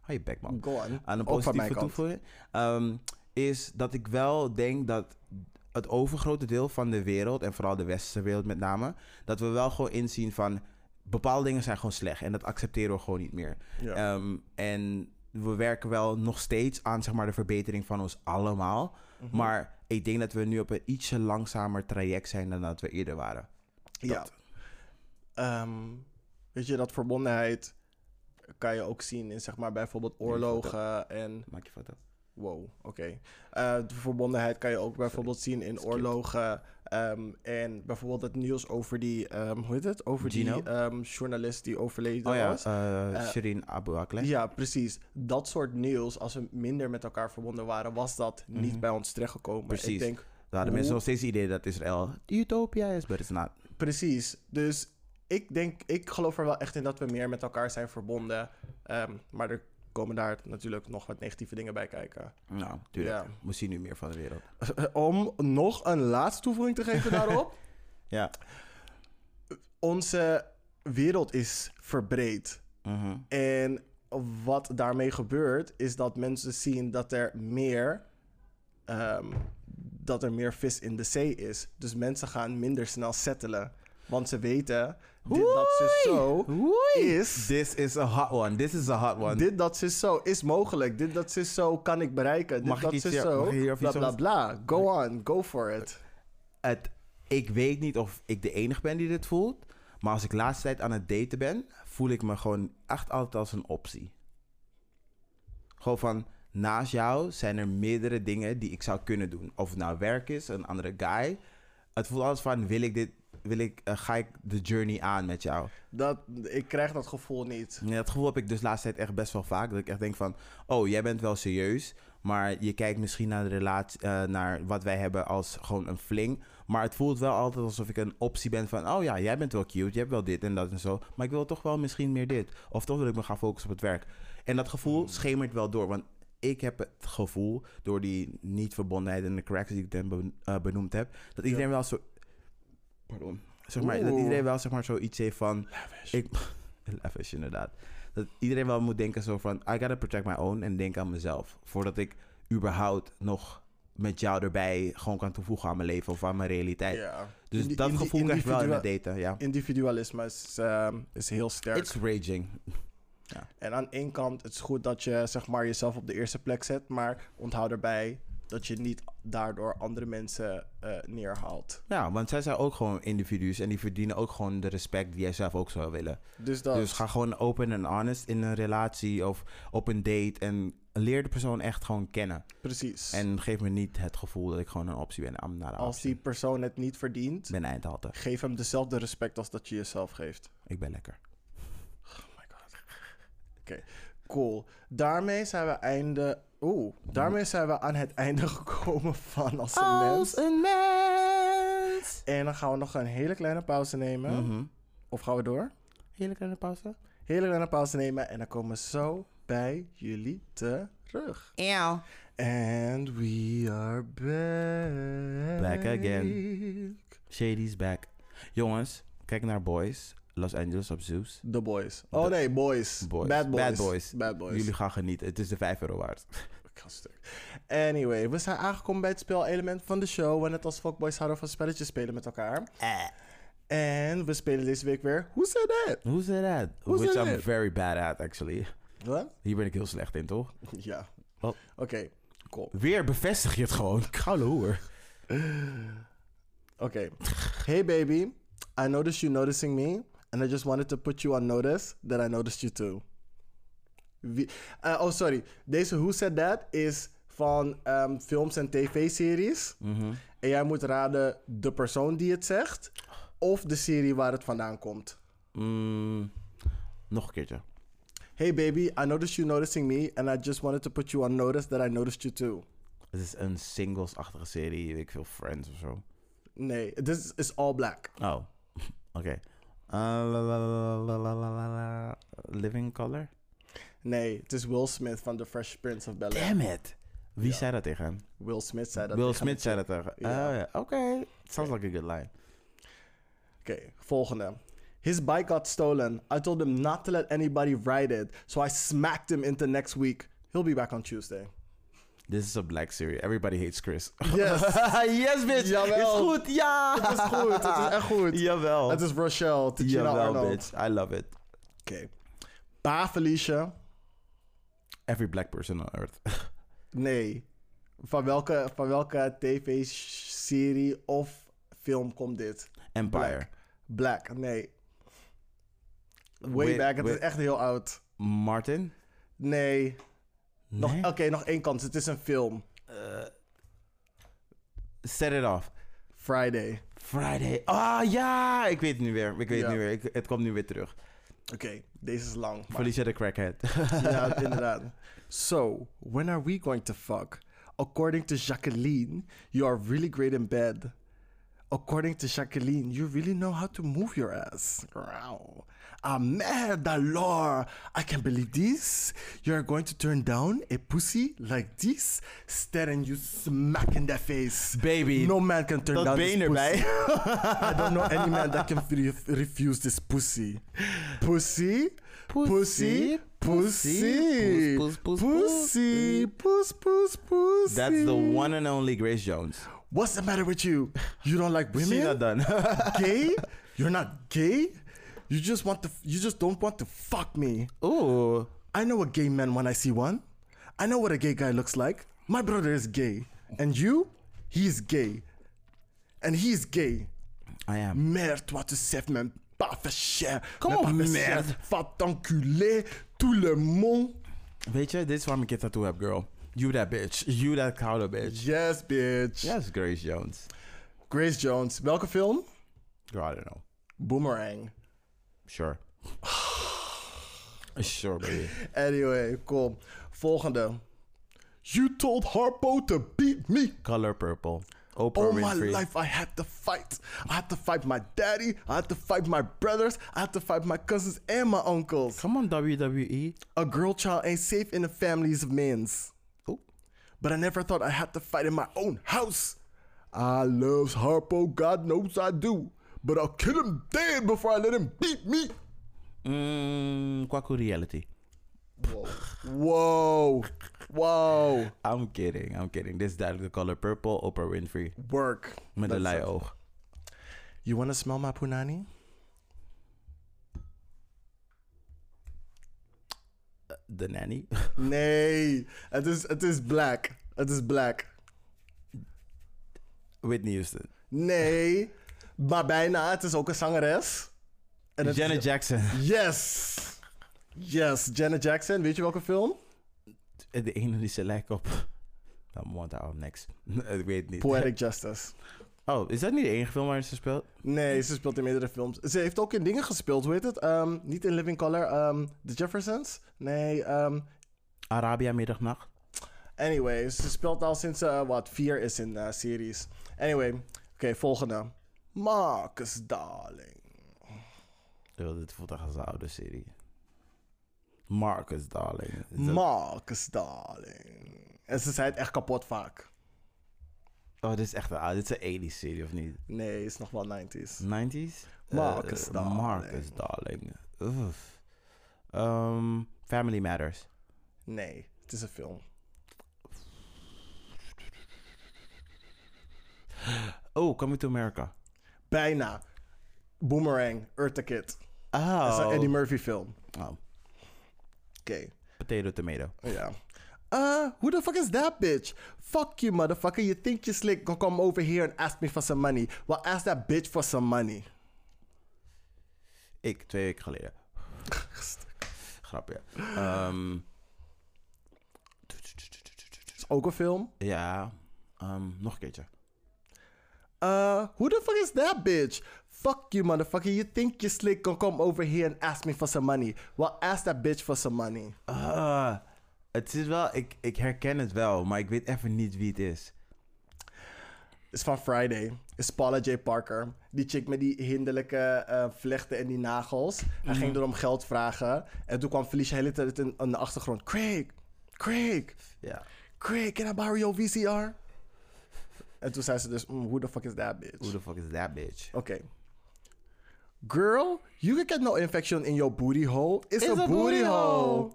S2: Hou je bek, man.
S1: Go on.
S2: aan een
S1: Ook van mijn
S2: positieve
S1: kant.
S2: toevoeging. ehm, is dat ik wel denk dat het overgrote deel van de wereld, en vooral de westerse wereld met name, dat we wel gewoon inzien van bepaalde dingen zijn gewoon slecht en dat accepteren we gewoon niet meer.
S1: Ja.
S2: Ehm, en we werken wel nog steeds aan zeg maar, de verbetering van ons allemaal.
S1: Mhm.
S2: Maar ik denk dat we nu op een ietsje langzamer traject zijn dan dat we eerder waren.
S1: Ja. Ehm, weet je, dat verbondenheid kan je ook zien in zeg maar bijvoorbeeld oorlogen en...
S2: Maak je foto.
S1: Wow, oké. Eh, de verbondenheid kan je ook bijvoorbeeld zien in
S2: Skipped.
S1: oorlogen ehm, en bijvoorbeeld het nieuws over die, ehm, hoe heet het? Over
S2: Gino?
S1: die ehm, journalist die overleden
S2: Oh ja,
S1: was.
S2: eh
S1: Eh,
S2: Shirin Abu Akleh.
S1: Ja, precies. Dat soort nieuws, als we minder met elkaar verbonden waren, was dat niet
S2: Mhm.
S1: bij ons terechtgekomen.
S2: Precies.
S1: Ik denk,
S2: Daar hadden mensen
S1: Hoe-
S2: nog steeds het idee dat Israël utopia is, but it's not.
S1: Precies. Dus ik denk, ik geloof er wel echt in dat we meer met elkaar zijn verbonden. Ehm, maar er komen daar natuurlijk nog wat negatieve dingen bij kijken.
S2: Nou, tuurlijk.
S1: Ja.
S2: Moest hij nu meer van de wereld.
S1: Eh, Om nog een laatste toevoeging te geven daarop.
S2: Ja.
S1: Onze wereld is verbreed.
S2: Mhm.
S1: En wat daarmee gebeurt, is dat mensen zien dat er meer. ehm, dat er meer vis in de zee is. Dus mensen gaan minder snel settelen. Want ze weten dit, dat ze
S2: Oei.
S1: zo
S2: Oei.
S1: is.
S2: This is a hot one. This is a hot one.
S1: Dit dat ze zo is mogelijk. Dit dat ze zo kan ik bereiken. Dit
S2: Mag ik
S1: dat
S2: iets
S1: ze
S2: hier-
S1: zo.
S2: mag ik hier
S1: Bla
S2: even iets
S1: bla bla. Go on, go for it.
S2: het, ik weet niet of ik de enige ben die dit voelt. Maar als ik laatste tijd aan het daten ben, voel ik me gewoon echt altijd als een optie. Gewoon van, naast jou zijn er meerdere dingen die ik zou kunnen doen. Of het nou werk is, een andere guy. Het voelt altijd van, wil ik dit, wil ik, eh, ga ik de journey aan met jou?
S1: Dat, ik krijg dat gevoel niet.
S2: Ja, dat gevoel heb ik dus laatst tijd echt best wel vaak. Dat ik echt denk van, oh, jij bent wel serieus. Maar je kijkt misschien naar de relatie, eh, naar wat wij hebben als gewoon een fling. Maar het voelt wel altijd alsof ik een optie ben van, oh ja, jij bent wel cute. Je hebt wel dit en dat en zo. Maar ik wil toch wel misschien meer dit. Of toch wil ik me gaan focussen op het werk. En dat
S1: Hmm.
S2: gevoel schemert wel door. Want ik heb het gevoel, door die niet-verbondenheid en de cracks die ik net ben- eh, benoemd heb, dat iedereen wel zo. Pardon. Zeg maar, dat
S1: Oeh.
S2: iedereen wel zeg maar zoiets heeft van. Ik, lavish, inderdaad. Dat iedereen wel moet denken zo van, I gotta protect my own en denk aan mezelf. Voordat ik überhaupt nog met jou erbij gewoon kan toevoegen aan mijn leven of aan mijn realiteit.
S1: Ja.
S2: Dus
S1: Indi-
S2: dat
S1: indi-
S2: gevoel krijg ik wel in het
S1: individua-
S2: daten, ja.
S1: Individualisme is, ehm, is heel sterk.
S2: It's raging.
S1: En aan één kant, het is goed dat je zeg maar, jezelf op de eerste plek zet, maar onthoud erbij dat je niet daardoor andere mensen eh, neerhaalt.
S2: Ja, want zij zijn ook gewoon individuen en die verdienen ook gewoon de respect die jij zelf ook zou willen.
S1: Dus dat.
S2: Dus ga gewoon open en honest in een relatie of op een date en leer de persoon echt gewoon kennen.
S1: precies.
S2: En geef me niet het gevoel dat ik gewoon een optie ben. I'm not an
S1: als die
S2: option.
S1: persoon het niet verdient,
S2: Ik ben eindhalte.
S1: geef hem dezelfde respect als dat je jezelf geeft.
S2: Ik ben lekker.
S1: Oh my god. Oké, cool. Daarmee zijn we einde. Oeh, daarmee zijn we aan het einde gekomen van als een mens.
S2: een mens.
S1: En dan gaan we nog een hele kleine pauze nemen.
S2: Mhm.
S1: Of gaan we door?
S2: Heerlijk aan de pauze.
S1: hele lange pauze nemen en dan komen we zo bij jullie terug.
S2: Eeuw.
S1: And we are back.
S2: Back again. Shady's back. Jongens, kijk naar Boys. Los Angeles op Zeus.
S1: The boys. Oh nee, boys.
S2: Boys.
S1: Bad boys.
S2: Bad Boys.
S1: Bad boys.
S2: Jullie gaan genieten. Het is de 5 euro waard.
S1: Ik ga stuk. Anyway, we zijn aangekomen bij het spelelement van de show. waar net als fuckboys houden van spelletjes spelen met elkaar. En we spelen deze week weer Who Said That?
S2: Hoe is dat?
S1: Hoe
S2: Which
S1: is
S2: I'm
S1: dat?
S2: very bad at, actually.
S1: Wat?
S2: Hier ben ik heel slecht in, toch?
S1: Ja.
S2: Wat?
S1: Oké, cool.
S2: Weer bevestig je het gewoon. Koude hoer.
S1: Okay. hey, baby. I noticed you noticing me, and I just wanted to put you on notice that I noticed you too. Wie- eh, oh, sorry. Deze Who Said That is van ehm, films en tv-series. En jij moet raden de persoon die het zegt... of de serie waar het vandaan komt.
S2: Mm, nog een keertje.
S1: Hey baby, I noticed you noticing me... and I just wanted to put you on notice that I noticed you too.
S2: Het is een singles-achtige serie. Weet ik veel Friends of zo.
S1: Nee, this is all black.
S2: Oh, oké. Ah, la, la, la, la, la, la, la, la. Living Color?
S1: Nee, het is Will Smith van The Fresh Prince of Bel-Air.
S2: Damn it! Wie
S1: Ja.
S2: zei dat tegen hem?
S1: Will Smith zei dat.
S2: Will
S1: tegen hem.
S2: Smith zei dat tegen hem.
S1: Ja.
S2: Oh ja, oké. Sounds like a good line.
S1: Oké, volgende. His bike got stolen. I told him not to let anybody ride it. So I smacked him into next week. He'll be back on Tuesday.
S2: This is a black series. Everybody hates Chris.
S1: Yes.
S2: yes, bitch!
S1: Jawel.
S2: Is goed, ja!
S1: Het is goed, het is echt goed.
S2: Jawel.
S1: Het is Rochelle, Tijina
S2: Jawel,
S1: Arnold. Oké.
S2: bitch. I love it.
S1: Pa Felicia.
S2: Every black person on earth.
S1: Nee. Van welke, van welke tv-serie of film komt dit?
S2: Empire.
S1: Black, nee. Way
S2: Wait,
S1: back, het
S2: wait.
S1: is echt heel oud.
S2: Martin?
S1: Nee. Nog-
S2: Nee?
S1: Oké, nog één kans. Het is een film.
S2: Set it off.
S1: Friday.
S2: Friday. Ah, ja! Ik weet het nu weer. Ik weet
S1: Ja.
S2: het nu weer. Ik, het komt nu weer terug.
S1: Oké, deze is lang. maar-
S2: Felicia de crackhead.
S1: Ja, inderdaad. So, when are we going to fuck? According to Jacqueline, you are really great in bed. according to Jacqueline, you really know how to move your ass. Wow. Ah, merda, lor. I can't believe this. You're going to turn down a pussy like this, staring you smack in the face.
S2: Baby,
S1: No man can turn
S2: dat
S1: down this
S2: been erbij.
S1: pussy. I don't know any man that can re- refuse this pussy. Pussy, pussy, pussy,
S2: Pussy, pussy, poes, poes, poes,
S1: pussy, puss, puss, pussy.
S2: Mm. That's the one and only Grace Jones.
S1: What's the matter with you? You don't like
S2: She not
S1: women?
S2: done.
S1: gay? You're not gay? You just want to. You just don't want to fuck me.
S2: Ooh.
S1: I know a gay man when I see one. I know what a gay guy looks like. My brother is gay, and you, he's gay, and he's gay.
S2: I am.
S1: Merde, toi, tu sais même pas faire chier.
S2: Comment
S1: Même pas faire
S2: merde?
S1: chier. Va t'enculer, tout le monde.
S2: Weet je, dit is waarom ik je tattoo heb, girl. You that bitch. You that koude bitch.
S1: Yes, bitch.
S2: Yes, Grace Jones.
S1: Grace Jones. Welke film?
S2: Girl, I don't know.
S1: Boomerang.
S2: Sure. sure, baby.
S1: Anyway, kom. Volgende. You told Harpo to beat me.
S2: Color purple. Oh, Oprah
S1: All my
S2: Winfrey.
S1: life, I had to fight. I had to fight my daddy. I had to fight my brothers. I had to fight my cousins and my uncles.
S2: Come on, E. WWE.
S1: A girl child ain't safe in the families of men's.
S2: Oh.
S1: but I never thought I had to fight in my own house. I loves Harpo, God knows I do, but I'll kill him dead before I let him beat me.
S2: Mm, Kwaku reality.
S1: Whoa, whoa,
S2: I'm kidding. I'm kidding. This is the color purple. Oprah Winfrey.
S1: work.
S2: Met een
S1: That's
S2: lei
S1: it.
S2: oog.
S1: You wanna smell my punani?
S2: De nanny.
S1: Nee, het is, het is black. Het is black.
S2: Whitney Houston.
S1: Nee, maar bijna. Het is ook een zangeres. En het-
S2: Janet Jackson.
S1: Yes. Yes, Janet Jackson. Weet je welke film?
S2: De ene die ze lijkt op. Dat moet daarom niks. Ik weet niet.
S1: Poetic Justice.
S2: Oh, is dat niet de enige film waarin ze speelt?
S1: Nee, ze speelt in meerdere films. Ze heeft ook in dingen gespeeld, hoe heet het? Ehm, niet in Living Color, ehm, The Jeffersons. Nee, ehm,
S2: Arabia Middagnacht.
S1: anyway, ze speelt al sinds, eh, wat, vier is in eh, series. Anyway, oké, volgende. Marcus Darling.
S2: Oh, dit voelt echt als een oude serie. Marcus, darling. Is dat-
S1: Marcus Darling. En ze zei het echt kapot vaak.
S2: oh, dit is echt een oude. Dit is een 80s serie, of niet?
S1: Nee, is nog wel 90s.
S2: Hm. 90s?
S1: Marcus,
S2: Eh,
S1: darling.
S2: Marcus, darling. Oef. Ehm, Family Matters.
S1: Nee, het is een film.
S2: Oh, Coming to America.
S1: Bijna. Boomerang, Eartha Kitt.
S2: Oh.
S1: Dat is een Eddie Murphy film.
S2: Oh,
S1: Oké.
S2: Potato Tomato.
S1: Yeah. Uh, who the fuck is that bitch? Fuck you, motherfucker. You think you're slick? Gonna come over here and ask me for some money. Well, ask that bitch for some money.
S2: Ik, twee weken geleden. Grapje. Ehm,
S1: Is ook een film.
S2: ja, ehm, nog een keertje.
S1: Uh, who the fuck is that bitch? Fuck you, motherfucker. You think you're slick? Gonna come over here and ask me for some money. Well, ask that bitch for some money.
S2: Ah, het is wel, ik, ik herken het wel, maar ik weet even niet wie het is.
S1: Is van Friday. Is Paula J. Parker. Die chick met die hinderlijke eh, vlechten en die nagels. Hij ging erom geld vragen. En toen kwam Felicia de hele tijd in, aan de achtergrond. Craig, Craig.
S2: Ja.
S1: Craig, can I borrow your VCR? En toen zei ze dus, mm, who the fuck is that bitch?
S2: Who
S1: Oké.
S2: the fuck is that bitch?
S1: Oh. Girl, you can get no infection in your booty hole. It's,
S2: It's
S1: a,
S2: a
S1: booty,
S2: booty
S1: hole.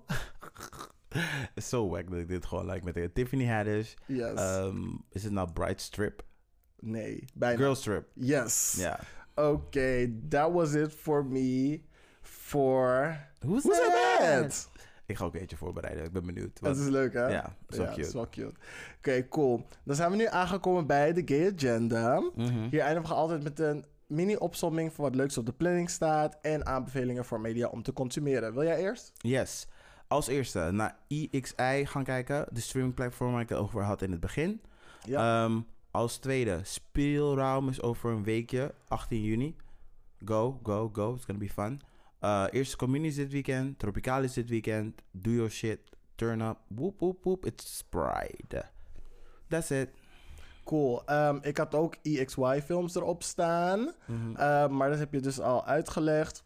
S2: Het is zo wack dat ik dit gewoon like met de Tiffany Haddish.
S1: Yes.
S2: Ehm, is het nou Bright Strip?
S1: nee, bijna.
S2: Girl Strip.
S1: Yes.
S2: Ja.
S1: Okay, that was it for me. For...
S2: Who's,
S1: Who's that? that?
S2: Ik ga ook eentje voorbereiden, ik ben benieuwd.
S1: Dat
S2: want-
S1: is leuk, hè?
S2: Ja, zo
S1: dat is
S2: cute.
S1: wel cute. Oké, cool. Dan zijn we nu aangekomen bij de Gay Agenda.
S2: Mhm.
S1: Hier eindigen we altijd met een mini-opsomming van wat leuks op de planning staat... en aanbevelingen voor media om te consumeren. Wil jij eerst?
S2: Yes. Als eerste naar IXI gaan kijken. De streamingplatform waar ik het over had in het begin.
S1: Ja.
S2: Ehm, als tweede, Speelruim is over een weekje, 18 juni. Go, go, go. It's gonna be fun. Eh, eerste communie is dit weekend. Tropicaal is dit weekend. Do your shit. Turn up. Woep, woep, woep. It's Pride. That's it.
S1: cool. Ehm, ik had ook EXY-films erop staan. Eh, maar dat heb je dus al uitgelegd.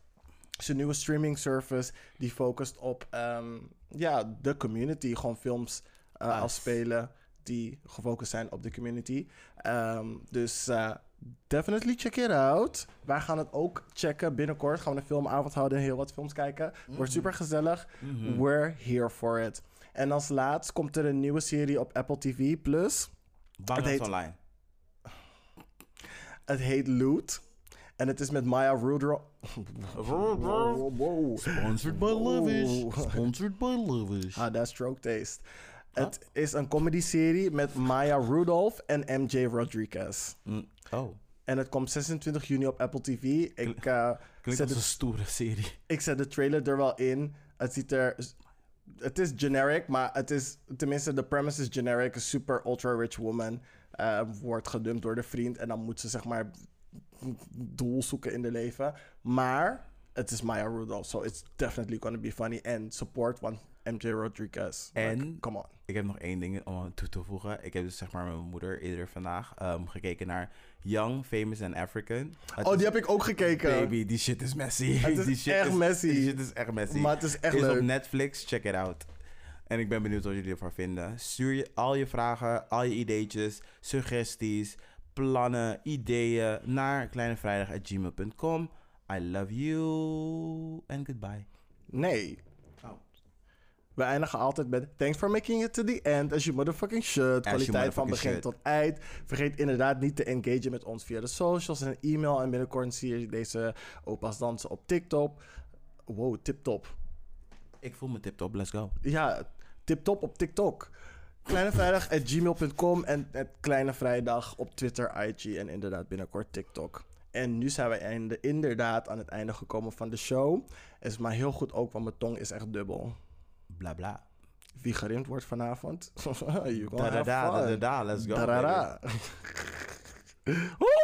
S1: Zijn nieuwe streaming service die focust op ehm, ja, de community. Gewoon films eh,
S2: Nice.
S1: als spelen die gefocust zijn op de community. Ehm, dus eh, definitely check it out. Wij gaan het ook checken binnenkort. Gaan we een filmavond houden en heel wat films kijken. Wordt super gezellig. We're here for it. En als laatst komt er een nieuwe serie op Apple TV Plus.
S2: Bang
S1: Het heet-
S2: online.
S1: Het heet Loot. En het is met Maya Rudro. Wow.
S3: Sponsored by Levish.
S1: Oeh.
S3: Sponsored by Levish.
S1: Ah, dat is stroke taste. Het is een comedyserie met Maya Rudolph en MJ Rodriguez.
S2: Mm. Oh.
S1: En het komt 26 juni op Apple TV. Ik, eh, zet,
S2: Klinkt als
S1: de,
S2: een stoere serie.
S1: ik zet de trailer er wel in. Het ziet er... Het is generic, maar het is... Tenminste, de premise is generic. Een super ultra-rich woman eh, wordt gedumpt door de vriend. En dan moet ze, zeg maar, doel zoeken in de leven. Maar het is Maya Rudolph, so it's definitely gonna be funny. And support one MJ Rodriguez. Like,
S2: En?
S1: come on.
S2: Ik heb nog één ding om aan toe te voegen. Ik heb dus zeg maar met mijn moeder eerder vandaag ehm, gekeken naar Young, Famous and African. Het
S1: Oh,
S2: is-
S1: die heb ik ook gekeken.
S2: Baby, die shit is messy.
S1: Het is
S2: die shit
S1: echt messy.
S2: Die shit is echt messy.
S1: Maar het is echt
S2: is
S1: leuk.
S2: op Netflix, check it out. En ik ben benieuwd wat jullie ervan vinden. Stuur je al je vragen, al je ideetjes, suggesties, plannen, ideeën naar kleinevrijdag.gmail.com. I love you and goodbye.
S1: Nee.
S2: Oh.
S1: We eindigen altijd met thanks for making it to the end as you motherfucking should.
S2: As you
S1: Kwaliteit van begin
S2: motherfucking should.
S1: tot eind. Vergeet inderdaad niet te engagen met ons via de socials en een e-mail. En binnenkort zie je deze opa's dansen op TikTok. Wow, tiptop.
S2: Ik voel me tip-top, let's go.
S1: Ja, tiptop op TikTok. Kleinevrijdag.gmail.com en het Kleine Vrijdag op Twitter, IG en inderdaad binnenkort TikTok. En nu zijn wij einde, inderdaad aan het einde gekomen van de show. Is maar heel goed ook, want mijn tong is echt dubbel.
S2: Bla bla.
S1: wie gerimd wordt vanavond. you gonna
S2: Da da da da
S1: have
S2: da
S1: fun.
S2: da, let's go.
S1: Da, da,
S2: baby.
S1: da. Woe!